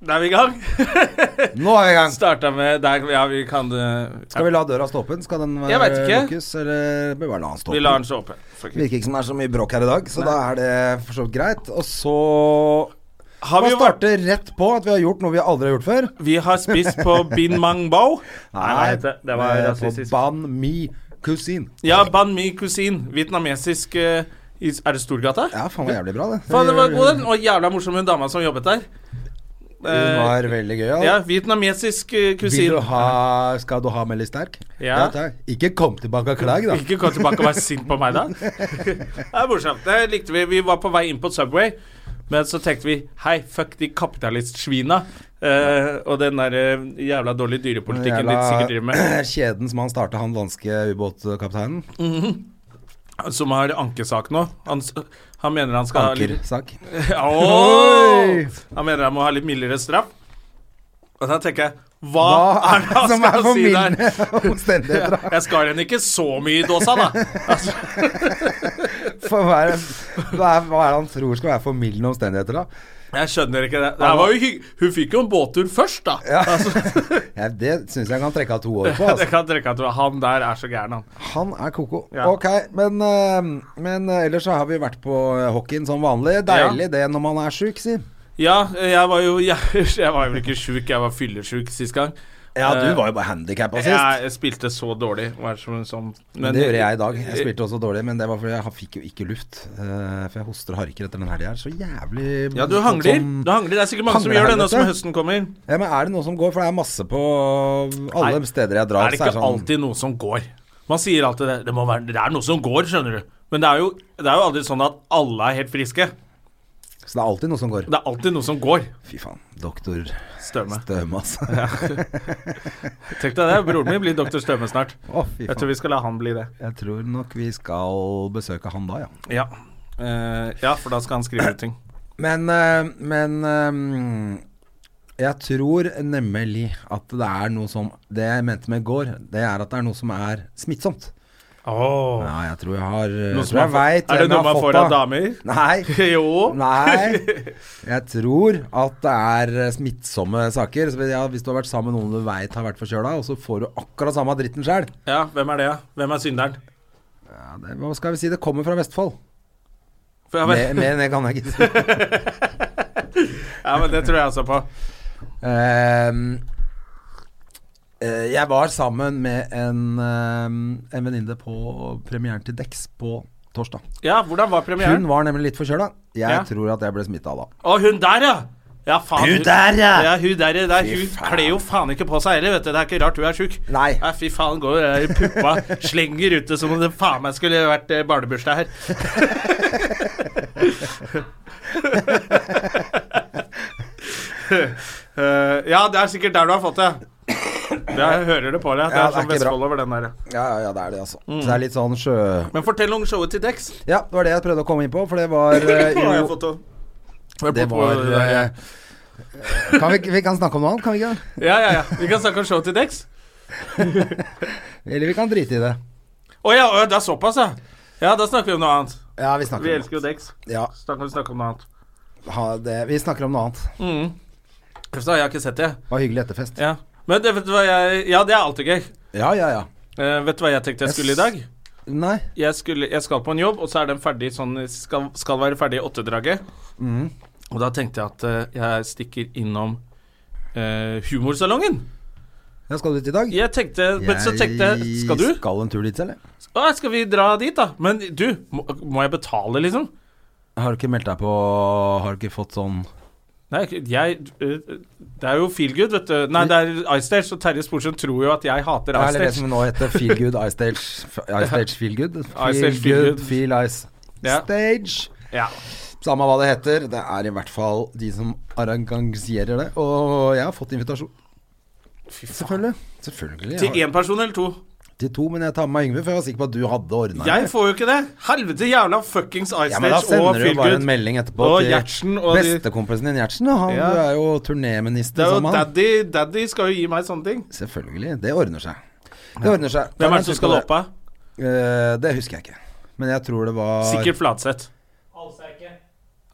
Da er vi i gang. Nå er vi i gang. Starta med der, Ja, vi kan det Skal vi la døra stå åpen? Skal den Jeg vet eh, ikke. lukkes, eller bør vi bare la den stå Vi åpen? lar den stå åpen. Fuck it. Virker ikke som det er så mye bråk her i dag, så da er det for så vidt greit. Og så Har vi, Man jo vært, starter rett på at vi har gjort noe vi aldri har gjort før. vi har spist på Bin Mang Bao. Nei, nei, det, det var eh, rasistisk. På Ban Mi Cuisine. Ja, Ban Mi Cuisine. Vietnamesisk eh, i- Er det Storgata? Ja, faen, det var jævlig bra, det. Faen, det var god den. Og jævla morsom hun dama som jobbet der. Den Eh, var veldig gøy. altså. ja, vietnamesisk eh, Vil du kusin. ha, skal du ha med litt sterk? Ja. takk. Ikke kom tilbake og klag, da. Ikke kom tilbake og vær sint på meg, da. Det er morsomt. Det likte vi. Vi var på vei inn på Subway, men så tenkte vi hei, fuck de kapitalistsvina. eh, og den der eh, jævla dårlige dyrepolitikken de sikkert driver med. kjeden som han starta, han danske ubåtkapteinen. Som har ankesak nå. Han, s- han mener han skal ha Ankersak. litt Oi! Han mener han må ha litt mildere straff. Og da tenker jeg hva, Hva er det han Ah, som er skal si der? formildende omstendigheter? da? Jeg skar henne ikke så mye i dåsa, da. Altså, For hva, er, det- hva, er, hva er det han tror skal være formildende omstendigheter, da? jeg skjønner ikke det. det her var jo hygg... Hun fikk jo en båttur først, da. Ja. Ja, det syns jeg han kan trekke av to år på. Det Altså. kan trekke at Han der er så gæren, han. Han er koko. Ja. Ok, men, eh, men eh, ellers så har vi vært på eh, hockeyen som vanlig. Deilig det når man er sjuk, si. Ja, jeg var jo Jeg, jeg var vel ikke sjuk, jeg var fyllesjuk sist gang. Ja, du var jo bare handikappa Jeg spilte så dårlig. Var som, som, men- det gjorde jeg i dag. Jeg spilte også dårlig, men det var fordi jeg ha- fikk jo ikke luft. Eh, for jeg hoster og harker etter den helga her. Så jævlig Ja, du hangler. sånn- Du hangler. Det er sikkert mange som Hangler gjør det nå helvete. som høsten kommer. Ja, men er det noe som går? For det er masse på eh, alle Nei. steder jeg drar. Er det så ikke sånn- alltid noe som går? Man sier alltid det. Det, må være, det er noe som går, skjønner du. Men det er, jo, det er jo aldri sånn at alle er helt friske. Så det er alltid noe som går. Det er alltid noe som går. Fy faen. Doktor Støme. Støme, altså. Tenk deg det. Broren min blir doktor Støme snart. Å, fy Jeg tror faen. vi skal la han bli det. Jeg tror nok vi skal besøke han da, ja. Ja. Eh, ja, for da skal han skrive ut ting. Men, eh, men eh, jeg tror nemlig at det er noe som Det jeg mente med går, det er at det er noe som er smittsomt. Oh. Ja, jeg tror jeg har eh, Noe jeg som tror jeg man får- vet Er det hvem jeg noe har man fått får av av. damer? Nei. Jo. Nei. Jeg tror at det er eh, smittsomme saker. Så, ja, hvis du har vært sammen med noen du veit har vært forkjøla, og så får du akkurat samme dritten sjøl Ja, hvem er det? ja? Hvem er synderen? ja, det- Hva skal vi si? Det kommer fra Vestfold. For jeg, Mer, mer enn det kan jeg ikke si. ja, men Det tror jeg også på. Ehm, eh, jeg var sammen med en, ehm, en venninne på premieren til Dex på torsdag. Ja, hvordan var premieren? Hun var nemlig litt forkjøla. Jeg Ja. tror at jeg ble smitta da. Å, hun der, ja! Ja, faen. Hun der, ja! ja hun der, ja, der, hun faen. kler jo faen ikke på seg heller, vet du. Det er ikke rart hun er sjuk. Nei. Nei, fy faen, går jo der i puppa, slenger ut det som om det faen meg skulle vært eh, barnebursdag her. Eh, ja, det er sikkert der du har fått det. Jeg hører det på deg. Det Ja, er det er sånn ikke bra. Vestfold over den der. Ja, ja, ja, det er det, altså. Mm. Så det er litt sånn sjø... Men fortell om showet til Dex. Ja, det var det jeg prøvde å komme inn på, for det var eh, Nå har jeg jo fått å- Hør Det på- på var det der, ja. eh, kan vi, vi kan snakke om noe annet, kan vi ikke? Ja, ja, ja. Vi kan snakke om showet til Dex. Eller vi kan drite i det. Å ja, å, det er såpass, ja. Ja, da snakker vi om noe annet. Ja, vi Vi snakker om elsker jo Dex. Ja, Så da kan vi snakke om noe annet. ha det. Vi snakker om noe annet. Mm. Uff da, jeg har ikke sett det. Det var hyggelig etterfest. Ja. Men det, vet du hva jeg Ja, det er alltid gøy. Ja, ja, ja. Eh, vet du hva jeg tenkte jeg skulle i dag? Nei. Jeg, skulle, jeg skal på en jobb, og så er den ferdig sånn Skal, skal være ferdig i åttedraget. Mm. Og da tenkte jeg at eh, jeg stikker innom eh, humorsalongen. Ja, skal du dit i dag? Jeg tenkte Men så tenkte jeg Skal du? skal en tur dit selv, jeg. Å, skal vi dra dit, da? Men du, må, må jeg betale, liksom? Har du ikke meldt deg på Har du ikke fått sånn Nei, jeg øh, Det er jo Feelgood, vet du. Nei, det er iStage, og Terje Sporsem tror jo at jeg hater Eller det iStage. som nå heter Feel Good Ice Stage. F- Ice Stage Feel Good? Feel Ice Stage Feel Good, Good. Feel Ice Ja. Stage. Ja. Samme hva det heter, det er i hvert fall de som arrangerer det. Og jeg har fått invitasjon. Selvfølgelig. Selvfølgelig. Til Jeg én person eller to? har, til to, men jeg tar med meg Yngve, for jeg var sikker på at du hadde ordna Jeg får jo ikke det! Helvete jævla fuckings Ice Ja, men da Age og sender du jo bare en Feelgood. melding etterpå Og til Gjertsen og de- bestekompisen din Gjertsen. da. Han Ja. du er jo Det turnéminister er jo som han. daddy, daddy skal jo gi meg sånne ting. Selvfølgelig. Det ordner seg. Det ordner seg. Hvem er det som skal Det- oppe? Eh, det husker jeg ikke. Men jeg tror det var Sikkert Flatseth.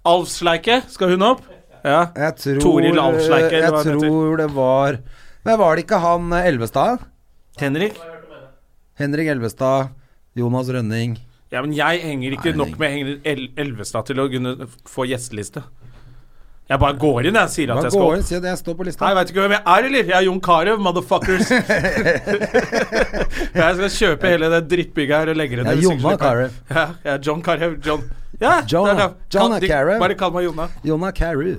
Alfsleike. Skal hun opp? Ja. Jeg tror, Toril Alfsleike, eller Jeg hva det heter. tror det var Nei, var det ikke han eh, Elvestad? Henrik? Henrik Elvestad, Jonas Rønning Ja, men jeg henger ikke Nei, nok med Henrik El Elvestad til å kunne få gjesteliste. Jeg bare går inn, jeg, sier at Hva jeg skal går opp. inn, si at jeg står på lista. Nei, jeg veit ikke hvem jeg er, eller? Jeg er Jon Carew, motherfuckers. jeg skal kjøpe hele det drittbygget her og legge det Jeg er hvis ikke Jonna slipper jeg. Carew. Ja, jeg er John Carew. John Ja, det er Jonna- det. Jonna de- Carew. Bare kall meg Jonna. Jonna Carew.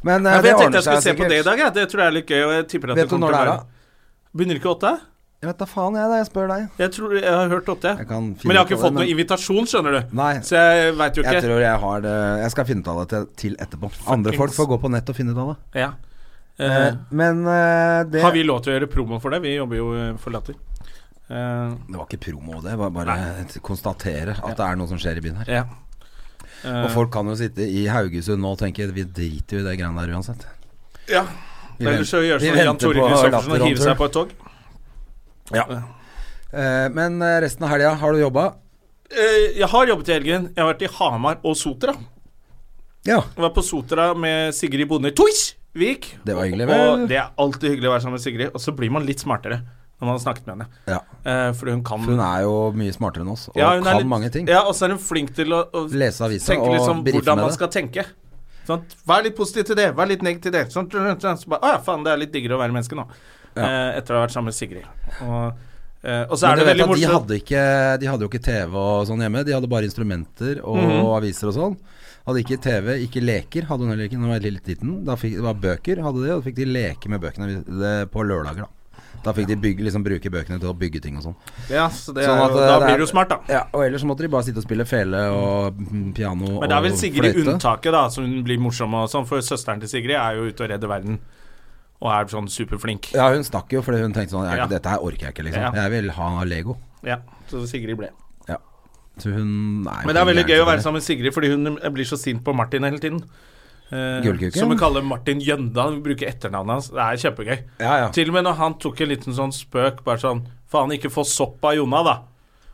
Men eh, Ja, men det jeg tenkte ordner jeg skulle seg se på det i sikkert. dag, jeg. Det tror jeg er litt gøy. Og jeg tipper at Vet du kommer når til det er, å være- Begynner ikke åtte? Jeg vet da faen, jeg, da. Jeg spør deg. Jeg tror jeg har hørt åtte. Jeg kan finne Men jeg har ikke ut av fått det, noen men- invitasjon, skjønner du. Nei. Så jeg veit jo Jeg ikke. tror jeg har det Jeg skal finne ut av det til, til etterpå. Andre folk får gå på nett og finne ut av det. Ja. Eh, Eh, Men eh, det Har vi lov til å gjøre promo for det? Vi jobber jo eh, for Latter. Eh, Det var ikke promo, det. var Bare et- konstatere at det er noe som skjer i byen her. ja. Eh, Og folk kan jo sitte i Haugesund nå og tenke vi driter jo i det greiene der uansett. ja. Vi Ellers så gjør vi som Jan venter Tore på Christoffersen og Latter on hiver Tour. seg på et tog. Eh, men eh, resten av helga, har du jobba? Eh, jeg har jobbet i helgen. Jeg har vært i Hamar og Sotra. Ja. Jeg var på Sotra med Sigrid Bonde Tusjvik. Det var hyggelig, Og vel? det er alltid hyggelig å være sammen med Sigrid. Og så blir man litt smartere når man har snakket med henne. Ja. Eh, fordi hun kan For hun er jo mye smartere enn oss og Ja, hun er kan litt- mange ting. Ja, og så er hun flink til å, å Lese aviser tenke og litt sånn briefe hvordan med man det. skal tenke. Sånn, vær litt positiv til det, vær litt negativ til det. Sånn, sånn, sånn, så bare, Å ja, faen, det er litt diggere å være menneske nå. Eh, etter å ha vært sammen med Sigrid. Og, eh, og så Men er du vet det veldig at de morsomt hadde, ikke, de hadde jo ikke TV og sånn hjemme. De hadde bare instrumenter og Mhm. aviser og sånn. Hadde ikke TV, ikke leker. Hadde hun heller ikke da hun var litt liten. Da fikk, det var bøker, hadde de, og da fikk de leke med bøkene vi- det, på lørdager. Da Da fikk de bygge, liksom bruke bøkene til å bygge ting og sånn. ja, så det er, Sånn at, jo- eh, Da det er- blir du smart, da. Ja, og ellers så måtte de bare sitte og spille fele og mm, piano Men det er vel og Sigrid fløyte. unntaket, da, som blir morsom og sånn. For søsteren til Sigrid er jo ute og redder verden. Og er sånn superflink. Ja, hun stakk jo fordi hun tenkte sånn Ja. "Jeg- Dette her orker jeg ikke, liksom. Ja. Jeg vil ha Lego. Ja, så Sigrid ble. Ja. Så hun nei, Men det er veldig gøy å være sånn sammen med Sigrid, fordi hun blir så sint på Martin hele tiden. Eh, Gullkuken? som hun kaller Martin Jønda. Hun bruker etternavnet hans. Det er kjempegøy. Ja, ja. Til og med når han tok en liten sånn spøk, bare sånn Faen, ikke få sopp av Jonna, da.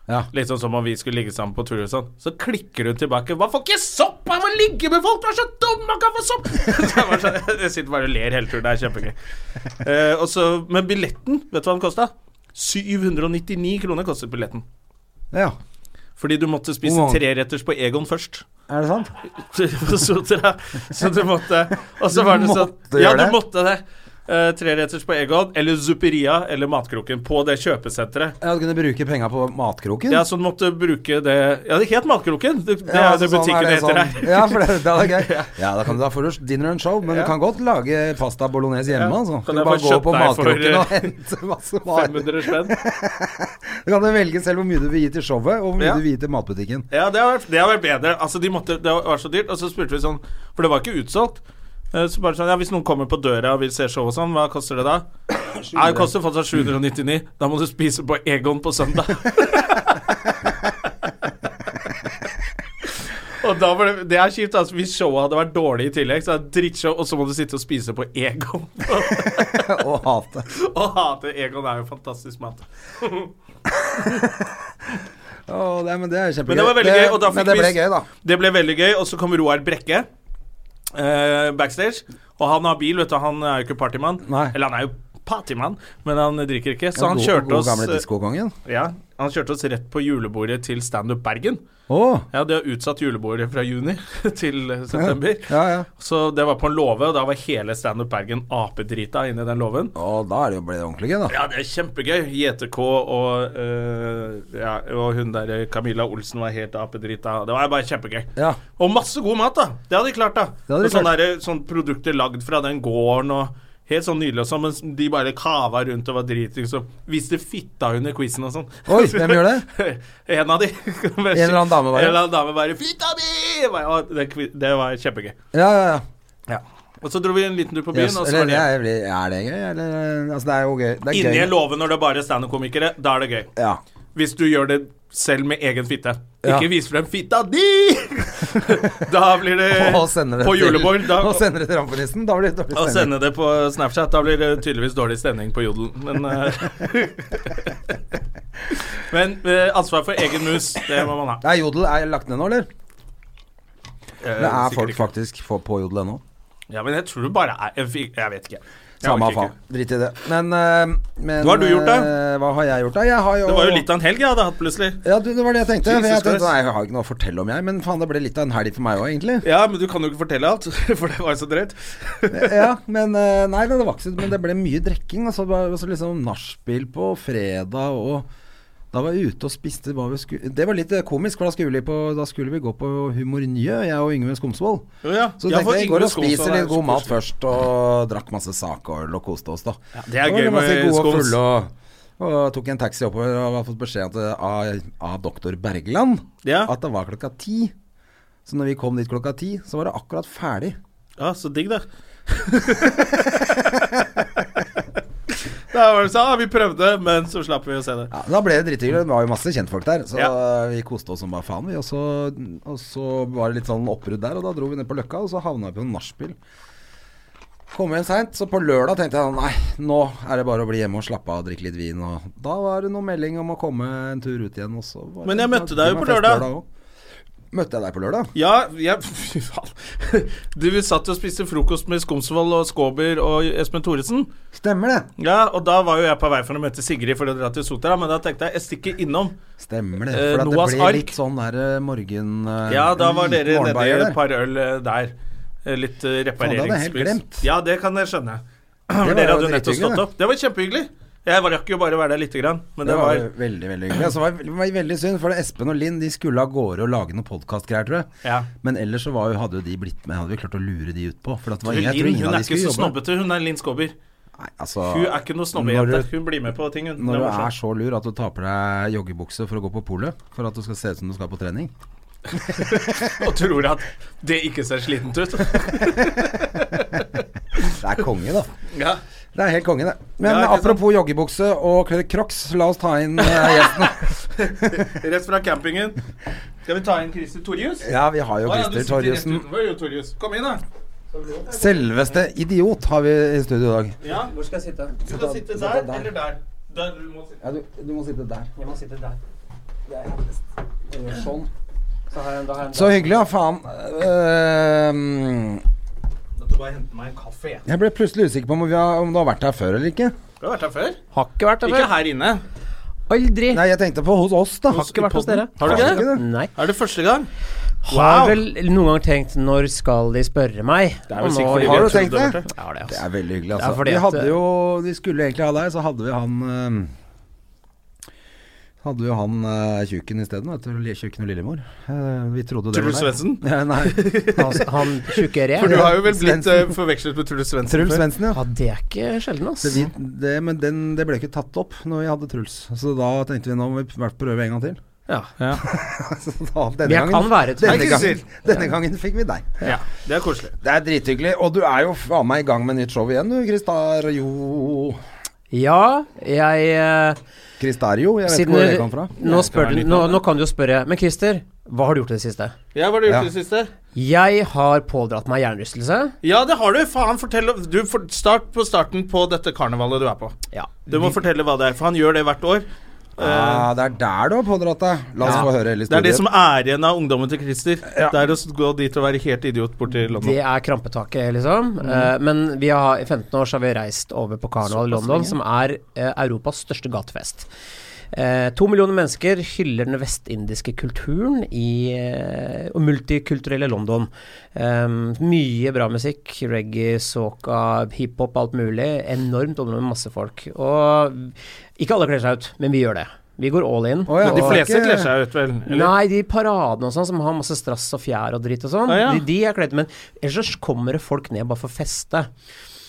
Ja. Litt sånn som om vi skulle ligge sammen på tur og sånn. Så klikker hun tilbake. Hva får ikke sopp av å ligge med folk? Du er så dum, man kan få sopp! så jeg, bare sånn, jeg sitter bare og ler hele turen. Det er kjempegøy. Eh, og så- men billetten, vet du hva den kosta? 799 kroner kostet billetten. Ja. Fordi du måtte spise Hvor mange- treretters på Egon først. Er det sant? så, dere, så du måtte Og så var det sånn måtte Ja, gjøre du det. måtte det. Eh, Treretters på Egon, eller Zuperia, eller Matkroken, på det kjøpesenteret. Ja, Du kunne bruke penga på matkroken? Ja, så du måtte bruke det Ja, det het Matkroken. Det, Ja, det er det altså, sånn er butikken det heter sånn. her. Ja, for det, det er gøy. Ja, da kan du da få du dinner and show, men du Ja. kan godt lage pasta bolognese hjemme, Ja. altså. Kan du jeg bare få gå kjøpt på deg for, matkroken eh, og hente masse varer. 500 spenn. Du kan jo velge selv hvor mye du vil gi til showet, og hvor mye Ja. du vil gi til matbutikken. Ja, det har vært, det har vært bedre. Altså, de måtte, det var så dyrt. Og så spurte vi sånn For det var ikke utsolgt. Eh, Så bare sånn Ja, hvis noen kommer på døra og vil se show og sånn, hva koster det da? Nei, det koster fortsatt 799. Da må du spise på Egon på søndag. Og da var det, det er kjipt, altså. Hvis showet hadde vært dårlig i tillegg, så er det drittshow, og så må du sitte og spise på Egon. og hate. og hate Egon er jo fantastisk mat. Å, det, men det er jo kjempegøy. Men det var veldig gøy, og da men fikk det ble vi- gøy, da. Det ble veldig gøy, og så kom Roar Brekke eh, backstage. Og han har bil, vet du. Han er jo ikke partymann. Nei. Eller han er jo partymann, men han drikker ikke. Så Ja, han god- kjørte god oss gamle eh, diskokongen. ja, Han kjørte oss rett på julebordet til Standup Bergen. Å! Ja, de har utsatt julebordet fra juni til eh, september. Ja, ja. Så det var på en låve, og da var hele Standup Bergen apedrita inni den låven. Å, da er det jo ble det ordentlig gøy, da. Ja, det er kjempegøy. JTK og, eh, ja, og hun der eh, Camilla Olsen var helt apedrita. Det var bare kjempegøy. Ja. Og masse god mat, da. Det hadde de klart, da. hadde de Og sånne, klart. der, sånne produkter lagd fra den gården og Helt sånn nydelig og sånn, mens de bare kava rundt og var dritings og viste fitta under quizen og sånn. Oi, hvem gjør en av de. en eller annen dame bare. En eller annen dame bare 'Fitta mi!' Jeg bare, «Å, Det, kvi- det var kjempegøy. Ja, ja, ja. Og så dro vi en liten tur på byen, Yes, og så var eller, det jeg blir- er det gøy, eller Altså, det er jo gøy. Det er Inni gøy. en låve når det er bare standup-komikere, da er det gøy. Ja. Hvis du gjør det selv med egen fitte. Ja. Ikke vis frem fitta di! da blir det Og sender det På til- julebord. Da, Og sender det til rampenissen. Da blir det dårlig og stemning. sende det på Snapchat. Da blir det tydeligvis dårlig stemning på jodel. Men, eh, men eh, ansvar for egen mus, det må man ha. Er Jodel er lagt ned nå, eller? Eh, Det er sikkert folk ikke. faktisk for- på Jodel ennå. Ja, men jeg tror det bare er Jeg, fikk- jeg vet ikke. Jeg Samme orker ikke. faen. Drit i det. Men, eh, men Hva har du gjort, da? eh, Hva har jeg gjort, da? Jeg har jo Det var jo litt av en helg jeg hadde hatt, plutselig. Ja, du, det var det jeg tenkte. for Jesus jeg tenkte Christ. nei, jeg har ikke noe å fortelle om, jeg. Men faen, det ble litt av en helg for meg òg, egentlig. Ja, men du kan jo ikke fortelle alt, for det var jo så drøyt. ja, men eh, Nei, det var ikke så- Men det ble mye drikking. Altså, bare- altså liksom nachspiel på fredag og da var jeg ute og spiste hva vi skulle Det var litt eh, komisk, for da skulle vi, på, da skulle vi gå på Humor Njø, jeg og Yngve Skomsvold. Jo, ja. Så Ja, tenkte for jeg vi Yngve går og Skomsvold spiser er litt så god mat koselig. først, og drakk masse sakøl og koste oss, da. det er Så var gøy masse med gode og Skoms. fulle og, og tok en taxi oppover og har fått beskjed at, eh, av, av doktor Bergland Ja. at det var klokka ti. Så når vi kom dit klokka ti, så var det akkurat ferdig. Ja, så digg, da. da var det sånn ah, Vi prøvde, men så slapp vi å se det. Ja, da ble det drithyggelig. Det var jo masse kjentfolk der, så Ja. vi koste oss som bare faen. Vi, og, så, og så var det litt sånn oppbrudd der, og da dro vi ned på Løkka, og så havna vi på en nachspiel. Kom hjem seint, så på lørdag tenkte jeg nei, nå er det bare å bli hjemme og slappe av og drikke litt vin. Og da var det noe melding om å komme en tur ut igjen. Og så var Men det- jeg møtte deg jo det var på fest lørdag. også. Møtte jeg deg på lørdag? Ja, jeg Fy faen. Du vi satt og spiste frokost med Skomsvold og Skåber og Espen Thoresen. Stemmer det. Ja, og da var jo jeg på vei for å møte Sigrid for å dra til Sotra, men da tenkte jeg jeg stikker innom. Stemmer det. Eh, For at Noahs det ble ark. litt sånn der eh, morgen... eh, Ja, da var liten dere nedi morgenbayer der. et par øl eh, der. Eh, Litt eh, hadde jeg helt repareringsbrus. glemt. Ja, det kan jeg skjønne. var Dere hadde jo jo nettopp drithyggelig, stått det. opp. Det var kjempehyggelig. Jeg var- rakk jo bare å være der lite grann, men Det det var var veldig veldig hyggelig. Altså, det var, det var veldig synd, for det Espen og Linn De skulle av gårde og lage noen podkastgreier, tror jeg. Ja. Men ellers så var jo, hadde jo de blitt med. Hadde vi klart å lure de ut på. For at det var, jeg tror Linn, ingen hun av er de ikke skulle så jobbe. snobbete, hun er Linn Skåber. Nei, altså, Hun er ikke noe når snobbejente. du, Hun blir med på ting, hun. når du Det er er morsomt. så lur at du tar på deg joggebukse for å gå på polet, for at du skal se ut som du skal på trening Og tror at det ikke ser slitent ut. Det er konge, da. Ja. Det er helt konge, det. Men Ja, ikke sant? apropos joggebukse og crocs, la oss ta inn eh, gjestene. Rett fra campingen. Skal vi ta inn Christer Torjus? Ja, vi har jo Å, ja, du Christer sitter rett Torjussen. utenfor, jo, Torjus. Kom inn, da. Selveste idiot har vi i studio i dag. Ja. Hvor skal jeg sitte? Skal du sitte der eller der? Der du må sitte. Ja, du, du må sitte der. Jeg må sitte der. Så hyggelig, ja. Faen. Ehm, Måtte bare hente meg en kaffe, jeg. jeg ble plutselig usikker på om, vi har, om du har vært her før eller ikke. Du har vært her før? Har ikke vært der Ikke før. her inne. Aldri. Nei, jeg tenkte på hos oss, da. Har ikke vært hos dere. Har du Har ikke det? ikke det? Nei. Er det første gang? Har vel noen gang tenkt når skal de spørre meg? Det er vel Og sikkert nå- fordi vi Har har du tenkt trodd det? det? har vært her. Ja, det, Det altså. er veldig hyggelig, Det altså. er fordi vi at- hadde jo Vi skulle egentlig ha deg, så hadde vi han ehm, hadde jo han eh, tjukken isteden, vet du. Tjukken og lillemor. Eh, vi trodde det Truls var deg. Svendsen? Ja, nei. Han, han tjukke re. For du har jo vel blitt Svendsen. eh, forvekslet med Truls Svendsen. Truls før. Svendsen, ja. Ja, det er ikke sjelden, ass. Så vi, det, men den, det ble ikke tatt opp når vi hadde Truls, så da tenkte vi nå må vi i hvert fall prøve en gang til. Ja. Så da, Men Altså, denne, jeg kan gangen, være denne, tjukke. gangen, denne gangen fikk vi deg. Ja, det er koselig. Det er drithyggelig. Og du er jo faen meg i gang med nytt show igjen, du. Kristario Ja, jeg eh, Kristario? Jeg vet Siden ikke hvor det kom fra. nå, spør, være du- litt nå, av det. nå kan du jo spørre Men Christer, hva har du gjort i det siste? Ja, hva har du gjort Ja. i det siste? Jeg har pådratt meg hjernerystelse. Ja, det har du. Faen, fortell om- Du for, Start på starten på dette karnevalet du er på. Ja. Du må fortelle hva det er, for han gjør det hvert år. Eh, Ah, det er der du har pådratt deg. La oss Ja. få høre hele Det er det som historien. er igjen av ungdommen til Christer. Det er å s- gå dit og være helt idiot borti Det London. Mm. er krampetaket, liksom. Eh, men vi har, i 15 år så har vi reist over på Karneval i London, som er eh, Europas største gatefest. Eh, to millioner mennesker hyller den vestindiske kulturen i eh, og multikulturelle London. Eh, mye bra musikk. Reggae, soca, hiphop, alt mulig. Enormt område med masse folk. Og ikke alle kler seg ut, men vi gjør det. Vi går all in. Å ja, De det var fleste ikke- kler seg ut, vel? Eller? Nei, de paradene og sånn som har masse strass og fjær og dritt og sånn, Ah, ja. de, de er kledd Men ellers så kommer det folk ned bare for å feste.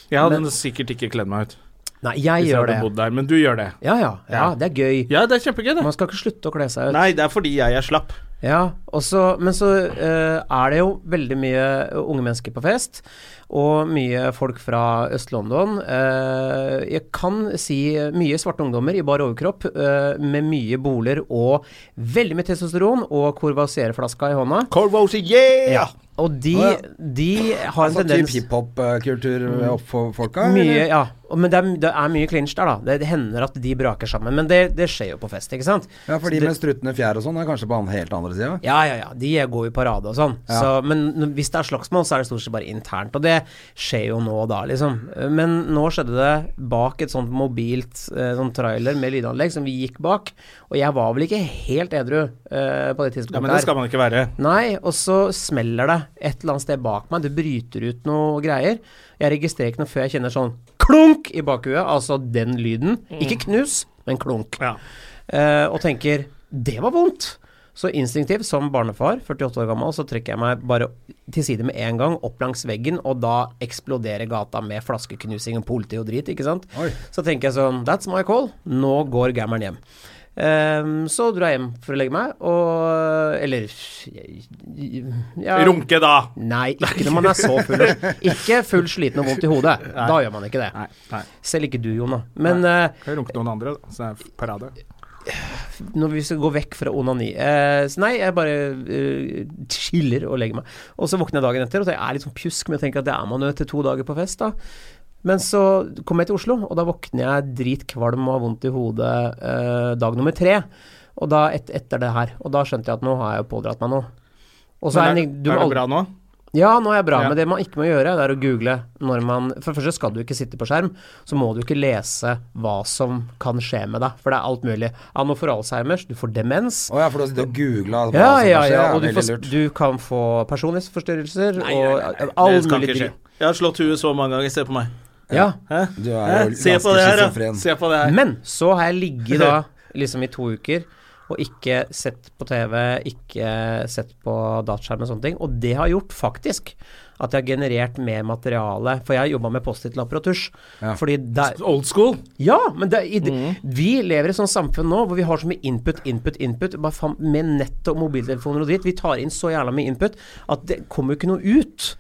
Jeg hadde Men- sikkert ikke kledd meg ut Nei, jeg hvis jeg gjør det. hadde bodd der, men du gjør det. Ja, ja, ja, Ja. det er gøy. Ja, det er kjempegøy, det. Man skal ikke slutte å kle seg ut. Nei, det er fordi jeg er slapp. Ja, og så- men så eh, er det jo veldig mye unge mennesker på fest, og mye folk fra Øst-London. Eh, jeg kan si mye svarte ungdommer i bar overkropp, eh, med mye boler og veldig mye testosteron og Corvaisier-flaska i hånda. Corvosi, yeah! Og de, Å, ja. de har en Altså tendens typ hiphop-kultur eh, for folka? Mm. mye, eller? ja. Og- Men det er, det er mye clinch der, da. Det, det hender at de braker sammen. Men det, det skjer jo på fest, ikke sant? Ja, for Så de det- med struttende fjær og sånn er kanskje på den helt andre sida? Ja, ja, ja. De går jo i parade og sånn. Så, men n- hvis det er slagsmål, så er det stort sett bare internt. Og det skjer jo nå og da, liksom. Men nå skjedde det bak et sånt mobilt eh, sånn trailer med lydanlegg som vi gikk bak. Og jeg var vel ikke helt edru eh, på det tidspunktet. Ja, men det her. skal man ikke være. Nei, og så smeller det et eller annet sted bak meg. Det bryter ut noe greier. Jeg registrerer ikke noe før jeg kjenner sånn klunk i bakhuet, altså den lyden. Ikke knus, men klunk. Ja. Eh, og tenker 'det var vondt'. Så instinktivt, som barnefar, 48 år gammel, så trekker jeg meg bare til side med en gang, opp langs veggen, og da eksploderer gata med flaskeknusing og politi og drit, ikke sant? Oi. Så tenker jeg sånn That's my call. Nå går gammeren hjem. Ehm, så dro jeg hjem for å legge meg, og Eller ja, Runke, da! Nei, ikke når man er så full. Ikke full sliten og vondt i hodet. Da gjør man ikke det. nei. Selv ikke du, Jonna. Men eh, Kan jo runke noen andre, da. Så det er parade. når vi skal gå vekk fra onani eh, Så nei, jeg bare eh, chiller og legger meg. Og så våkner jeg dagen etter, og så er jeg litt sånn pjusk, men jeg tenker at det er man jo etter to dager på fest, da. Men så kommer jeg til Oslo, og da våkner jeg dritkvalm og har vondt i hodet eh, dag nummer tre. Og da et, etter det her. Og da skjønte jeg at nå har jeg jo pådratt meg noe. Og så er, Men jeg- du må er det aldri- bra nå? Ja, nå er jeg bra, Ja. men det man ikke må gjøre, det er å google når man For det første skal du ikke sitte på skjerm, så må du ikke lese hva som kan skje med deg, for det er alt mulig. Ja, nå får du Alzheimers, du får demens. Å ja, for du har sittet og googla? Ja, ja, ja, og du, veldig får, lurt. du kan få personlighetsforstyrrelser Nei, og nei, nei, nei. all Det skal mulig ikke skje. dritt. Jeg har slått huet så mange ganger. Se på meg. Ja. Hæ? Du er Hæ? jo Se ganske på det her, da. schizofren. Se på det her. Men så har jeg ligget da liksom i to uker og ikke sett på TV, ikke sett på dataskjerm og sånne ting. Og det har gjort faktisk at jeg har generert mer materiale, for jeg har jobba med Post-It-lapper og tusj. Fordi der, Old school. Ja, men det, i, det- Mm. vi lever i et sånt samfunn nå hvor vi har så mye input, input, input. Bare faen, med nett og mobiltelefoner og dritt. Vi tar inn så jævla mye input at det kommer jo ikke noe ut.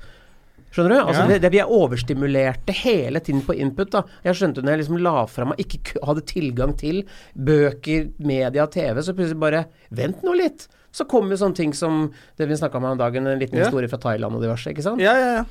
Skjønner du? Altså, Ja. det, det, vi er overstimulerte hele tiden på input. da. Jeg skjønte når jeg liksom la fra meg, ikke ku- hadde tilgang til bøker, media, TV, så plutselig bare Vent nå litt! Så kommer jo sånne ting som det vi snakka om her om dagen, en liten Ja. historie fra Thailand og diverse. ikke sant? Ja, ja, ja.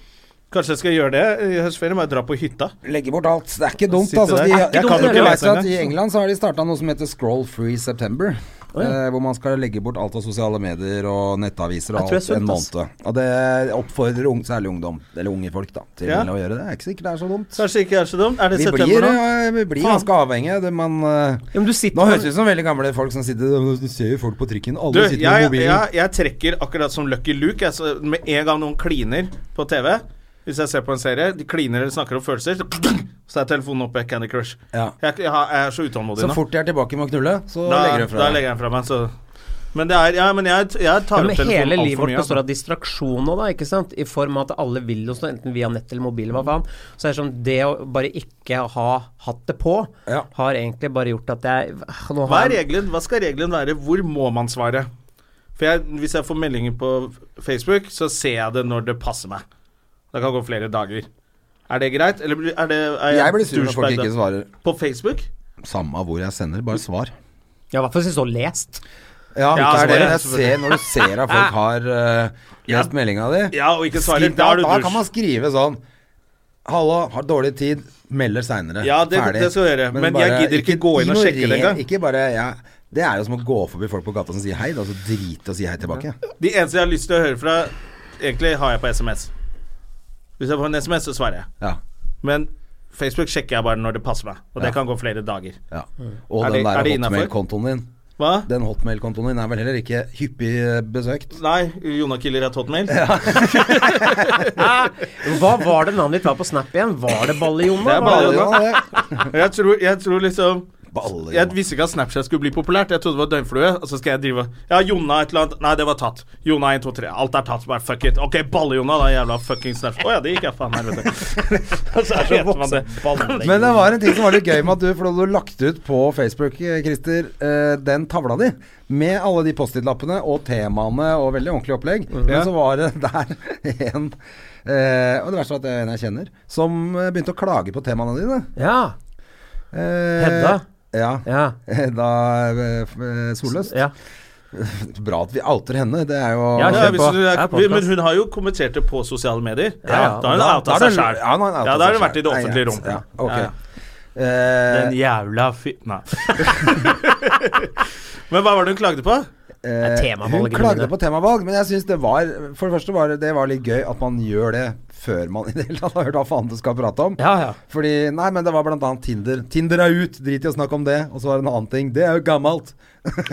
Kanskje jeg skal gjøre det i høstferien, bare dra på hytta. Legge bort alt. Det er ikke dumt, Sitter altså. der. De, Det er ikke jeg dumt, kan jo det ikke er lese lett, at I det. England så har de starta noe som heter Scroll Free September. eh, hvor man skal legge bort alt av sosiale medier og nettaviser og Jeg tror alt jeg er en sunt, måned. Og det oppfordrer ung, særlig ungdom, eller unge folk, da, til Ja. å gjøre det. Det er ikke sikkert det er så dumt. Kanskje ikke er så dumt. Er det Vi september blir, nå? eh, vi blir Faen. ganske avhengige. Det, man, eh, Ja, men du sitter nå høres det ut som veldig gamle folk som sitter Du ser jo folk på trikken, alle Du, jeg, sitter med mobilen. jeg, jeg trekker akkurat som Lucky Luke. Jeg, så med en gang noen kliner på TV Hvis jeg ser på en serie, de kliner eller snakker om følelser, så, så er telefonen oppe. Candy Crush. Ja. Jeg, jeg, har- jeg er så utålmodig Så nå. fort de er tilbake med å knulle, så Da, legger de fra da legger jeg den fra meg. Så. Men, det er, ja, men jeg, jeg Ja, tar men opp hele telefonen altfor livet vårt mye. består altså. av distraksjon nå, da, ikke sant? I form av at alle vil oss noe, enten via nett eller mobil, hva faen. Så er det sånn, det å bare ikke ha hatt det på, Ja. har egentlig bare gjort at jeg ah, Hva, nå har er jeg- regelen, hva skal regelen være? Hvor må man svare? For jeg, Hvis jeg får meldinger på Facebook, så ser jeg det når det passer meg. Det kan gå flere dager. Er det greit? Eller blir- er det er Jeg blir sur når folk douchebag da? ikke svarer. På Facebook? Samme hvor jeg sender, bare svar. Ja, i hvert fall sist og lest. Ja, Ja, det er det svarer, jeg ser når du ser at folk har eh, lest meldinga di. Ja, og ikke svarer. Skriv- Da er du da kan dusj. man skrive sånn Hallo, har dårlig tid, melder seinere. Ja, det- det skal jeg gjøre, men jeg gidder ikke gå inn og sjekke det engang. Ikke bare, ja, det er jo som å gå forbi folk på gata som sier hei, da, så drite og si hei tilbake. De eneste jeg har lyst til å høre fra, egentlig har jeg på SMS. Hvis jeg får en SMS, så svarer jeg. Ja, Men Facebook sjekker jeg bare når det passer meg. Og Ja. det kan gå flere dager. ja. Og Er det- den er der det innenfor? hotmail-kontoen din. Hva? Den hotmail-kontoen din er vel heller ikke hyppig eh, besøkt? Nei, Jonna Killer er hotmail. Hva var det navnet ditt var på Snap igjen? Var det Balle, Jonna? Det er Var Balle, det- Ja, det. Jeg tror, jeg tror liksom på alle. Jeg visste ikke at Snapchat skulle bli populært. Jeg trodde det var døgnflue. Og så skal jeg drive Ja, Jonna et eller annet. Nei, det var tatt. Jonna 1, 2, 3. Alt er tatt. Bare fuck it. Ok, Balle-Jonna, da, jævla fucking Snapchat. Å ja, det gikk jeg faen helvete. Og så heter man det. Men det var en ting som var litt gøy med at du, for du lagt ut på Facebook, eh, Christer, eh, den tavla di med alle de Post-It-lappene og temaene og veldig ordentlig opplegg. Men så var det der en eh, Og det verste var at det er en jeg kjenner, som eh, begynte å klage på temaene dine. Ja. Eh, Hedda? Ja. Ja. Hedda eh, f- eh, Solløs. ja. Bra at vi outer henne. Det er jo Ja, Ja, kjør hvis på. du, Det er vi, podcast. men hun har jo kommentert det på sosiale medier. Ja, ja. Da har hun Da- outa da er seg det- sjæl. Ja, nå har hun outa Ja, da har seg hun vært i det selv. offentlige Ja, rom. Ja, ok. Ja. Eh, Den jævla fy... Nei. men hva var det hun klagde på? Eh, temavalgene Hun klagde mine. på temavalg, men jeg syns det var For det første var det, det var litt gøy at man gjør det før man i det hele tatt har hørt hva faen du skal prate om. Ja, ja. Fordi Nei, men det var blant annet Tinder. Tinder er ut, drit i å snakke om det. Og så var det en annen ting. Det er jo gammelt.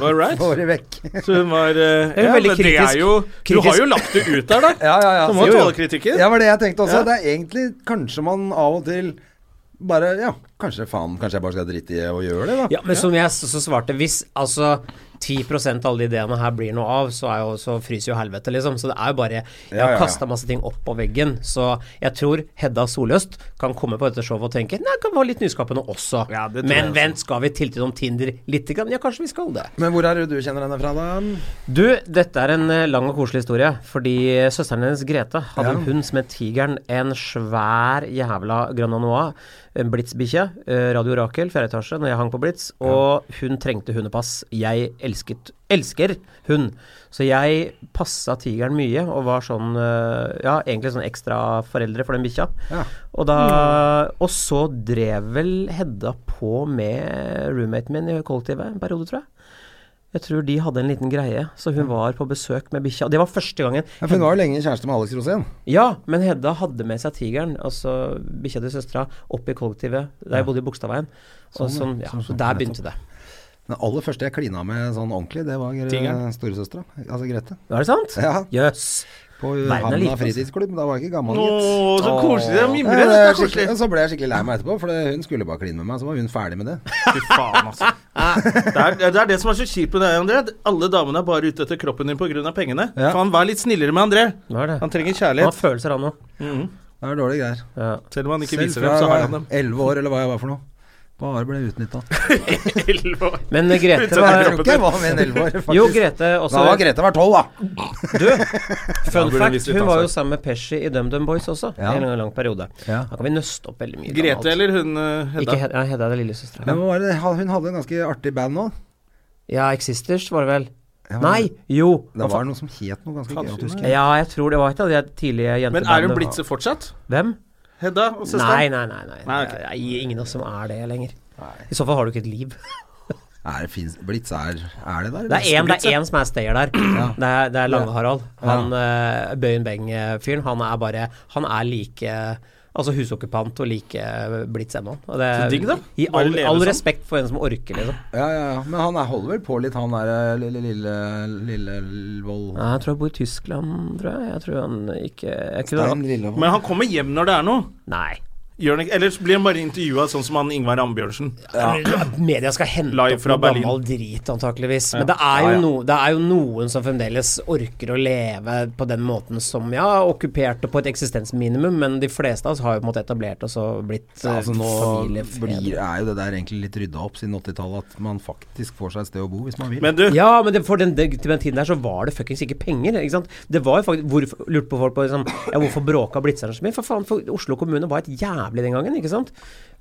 All right. Få det vekk. Så hun var eh, er jo ja, veldig men det kritisk. er jo Du Kritisk. har jo lagt det ut der, da. Ja, ja, ja. Du må Jo, jo. tåle kritikken. Ja, var det jeg tenkte også. Ja. Det er egentlig kanskje man av og til bare Ja, kanskje faen, kanskje jeg bare skal drite i å gjøre det, da. Ja, men som jeg s- så svarte, hvis altså 10 av alle de ideene her blir noe av, så, er jo, så fryser jo helvete, liksom. Så det er jo bare Jeg Ja, ja, har ja. kasta masse ting opp på veggen, så jeg tror Hedda Soløst kan komme på dette showet og tenke Nei, kan være litt nyskapende også. Ja, det tror jeg men også. vent, skal vi tiltid om Tinder lite grann? Ja, kanskje vi skal det. Men hvor er det du kjenner henne fra, da? Du, dette er en eh, lang og koselig historie, fordi søsteren hennes Grete hadde en hund som het Tigeren. En svær jævla Grand Anois, en Blitz-bikkje. eh, Radio Rakel, fjerde etasje, når jeg hang på Blitz. Og hun trengte hundepass. Jeg elsket elsker hund. Så jeg passa Tigeren mye, og var sånn eh, Ja, egentlig sånn ekstra foreldre for den bikkja. Ja. Og, da, og så drev vel Hedda på med roommaten min i kollektivet en periode, tror jeg. Jeg tror de hadde en liten greie, så hun var på besøk med bikkja. Det var første gangen. Ja, for hun var jo lenge kjæreste med Alex Rosén. Ja, men Hedda hadde med seg tigeren, altså bikkja til søstera, opp i kollektivet der jeg bodde i Bogstadveien. Og sånn, ja, så der begynte det. Den aller første jeg klina med sånn ordentlig, det var eh, Tigeren. storesøstera. Altså Grete. Var det sant? Ja. Jøss. På er liten, Hamna altså. fritidsklubb. Da var jeg ikke gammel, Å, så koselig. Det Nei, mimrer. det Det er er koselig. skikkelig- Så ble jeg skikkelig lei meg etterpå, for det- hun skulle bare kline med meg. Så var hun ferdig med det. Fy faen, altså. Det er, det er det som er så kjipt med deg, André. Alle damene er bare ute etter kroppen din pga. pengene. Ja. Faen, vær litt snillere med André. Hva er det? Han trenger Han har kjærlighet. følelser, han òg. Det er dårlige greier. Ja. Selv om han ikke Selv viser fra dem, så har jeg han var dem. 11 år, eller hva jeg var for noe. Bare ble utnytta. Men eh, Grete Jeg var tror ikke jeg var med en 11 år, faktisk. Jo, Grete også. Da var Grete var 12, da. Du, fun burde hun fact, vist litt hun var ansvar. jo sammen med Pesci i DumDum Boys også, Ja. i en lang, lang periode. Ja. Da kan vi nøste opp veldig mye. gammelt. Grete eller hun eh, Ikke Hedda? Hedda, ja, Hedda er lillesøstera. Men hva var det? Hun hadde en ganske artig band nå. Ja, Existers var det vel? Ja, Nei, jo. Det var noe som het noe ganske gøy. at du husker. Ja, jeg tror det var et av de tidlige Men jentebandene. er hun blitzer fortsatt? Hvem? Hedda og Nei, søsteren? nei, nei. nei. Nei, ok. Det er ingen av oss som er det lenger. I så fall har du ikke et liv. Er det fins Blitz er, er det der? Det eller? er én, det er én som er stayer der. Det er, det er Lange-Harald. Han eh, Bøyen Beng-fyren. Han er bare Han er like Altså husokkupant og like blitz ennå. Og det er- Så digg, da. I Bare all, leve all sånn. respekt for en som orker, liksom. Ja, ja, ja. Men han er, holder vel på litt, han der eh, lille lille, lille Vold... Nei, jeg tror han bor i Tyskland, tror jeg. Jeg tror han ikke jeg Stein kunne, Lillevold. Men han kommer hjem når det er noe. Nei. Gjør han ikke? Ellers blir han bare intervjua sånn som han Ingvar Ambjørnsen. Media skal hente Live opp fra noe Berlin. gammel drit, antakeligvis. Men det er, jo Ja, ja. No, det er jo noen som fremdeles orker å leve på den måten som Ja, okkuperte på et eksistensminimum, men de fleste av oss har jo på en måte etablert oss og blitt eh, Ja, altså nå blir, familiefedre. er jo det der egentlig litt rydda opp siden 80-tallet, at man faktisk får seg et sted å bo hvis man vil. Men du, Ja, men det, for den, den, til den tiden der så var det fuckings ikke penger. Ikke sant? Det var jo faktisk hvorfor, Lurt på folk på liksom, ja, hvorfor bråka Blitzeren så mye? For faen, for Oslo kommune var et jævlig den gangen, ikke sant?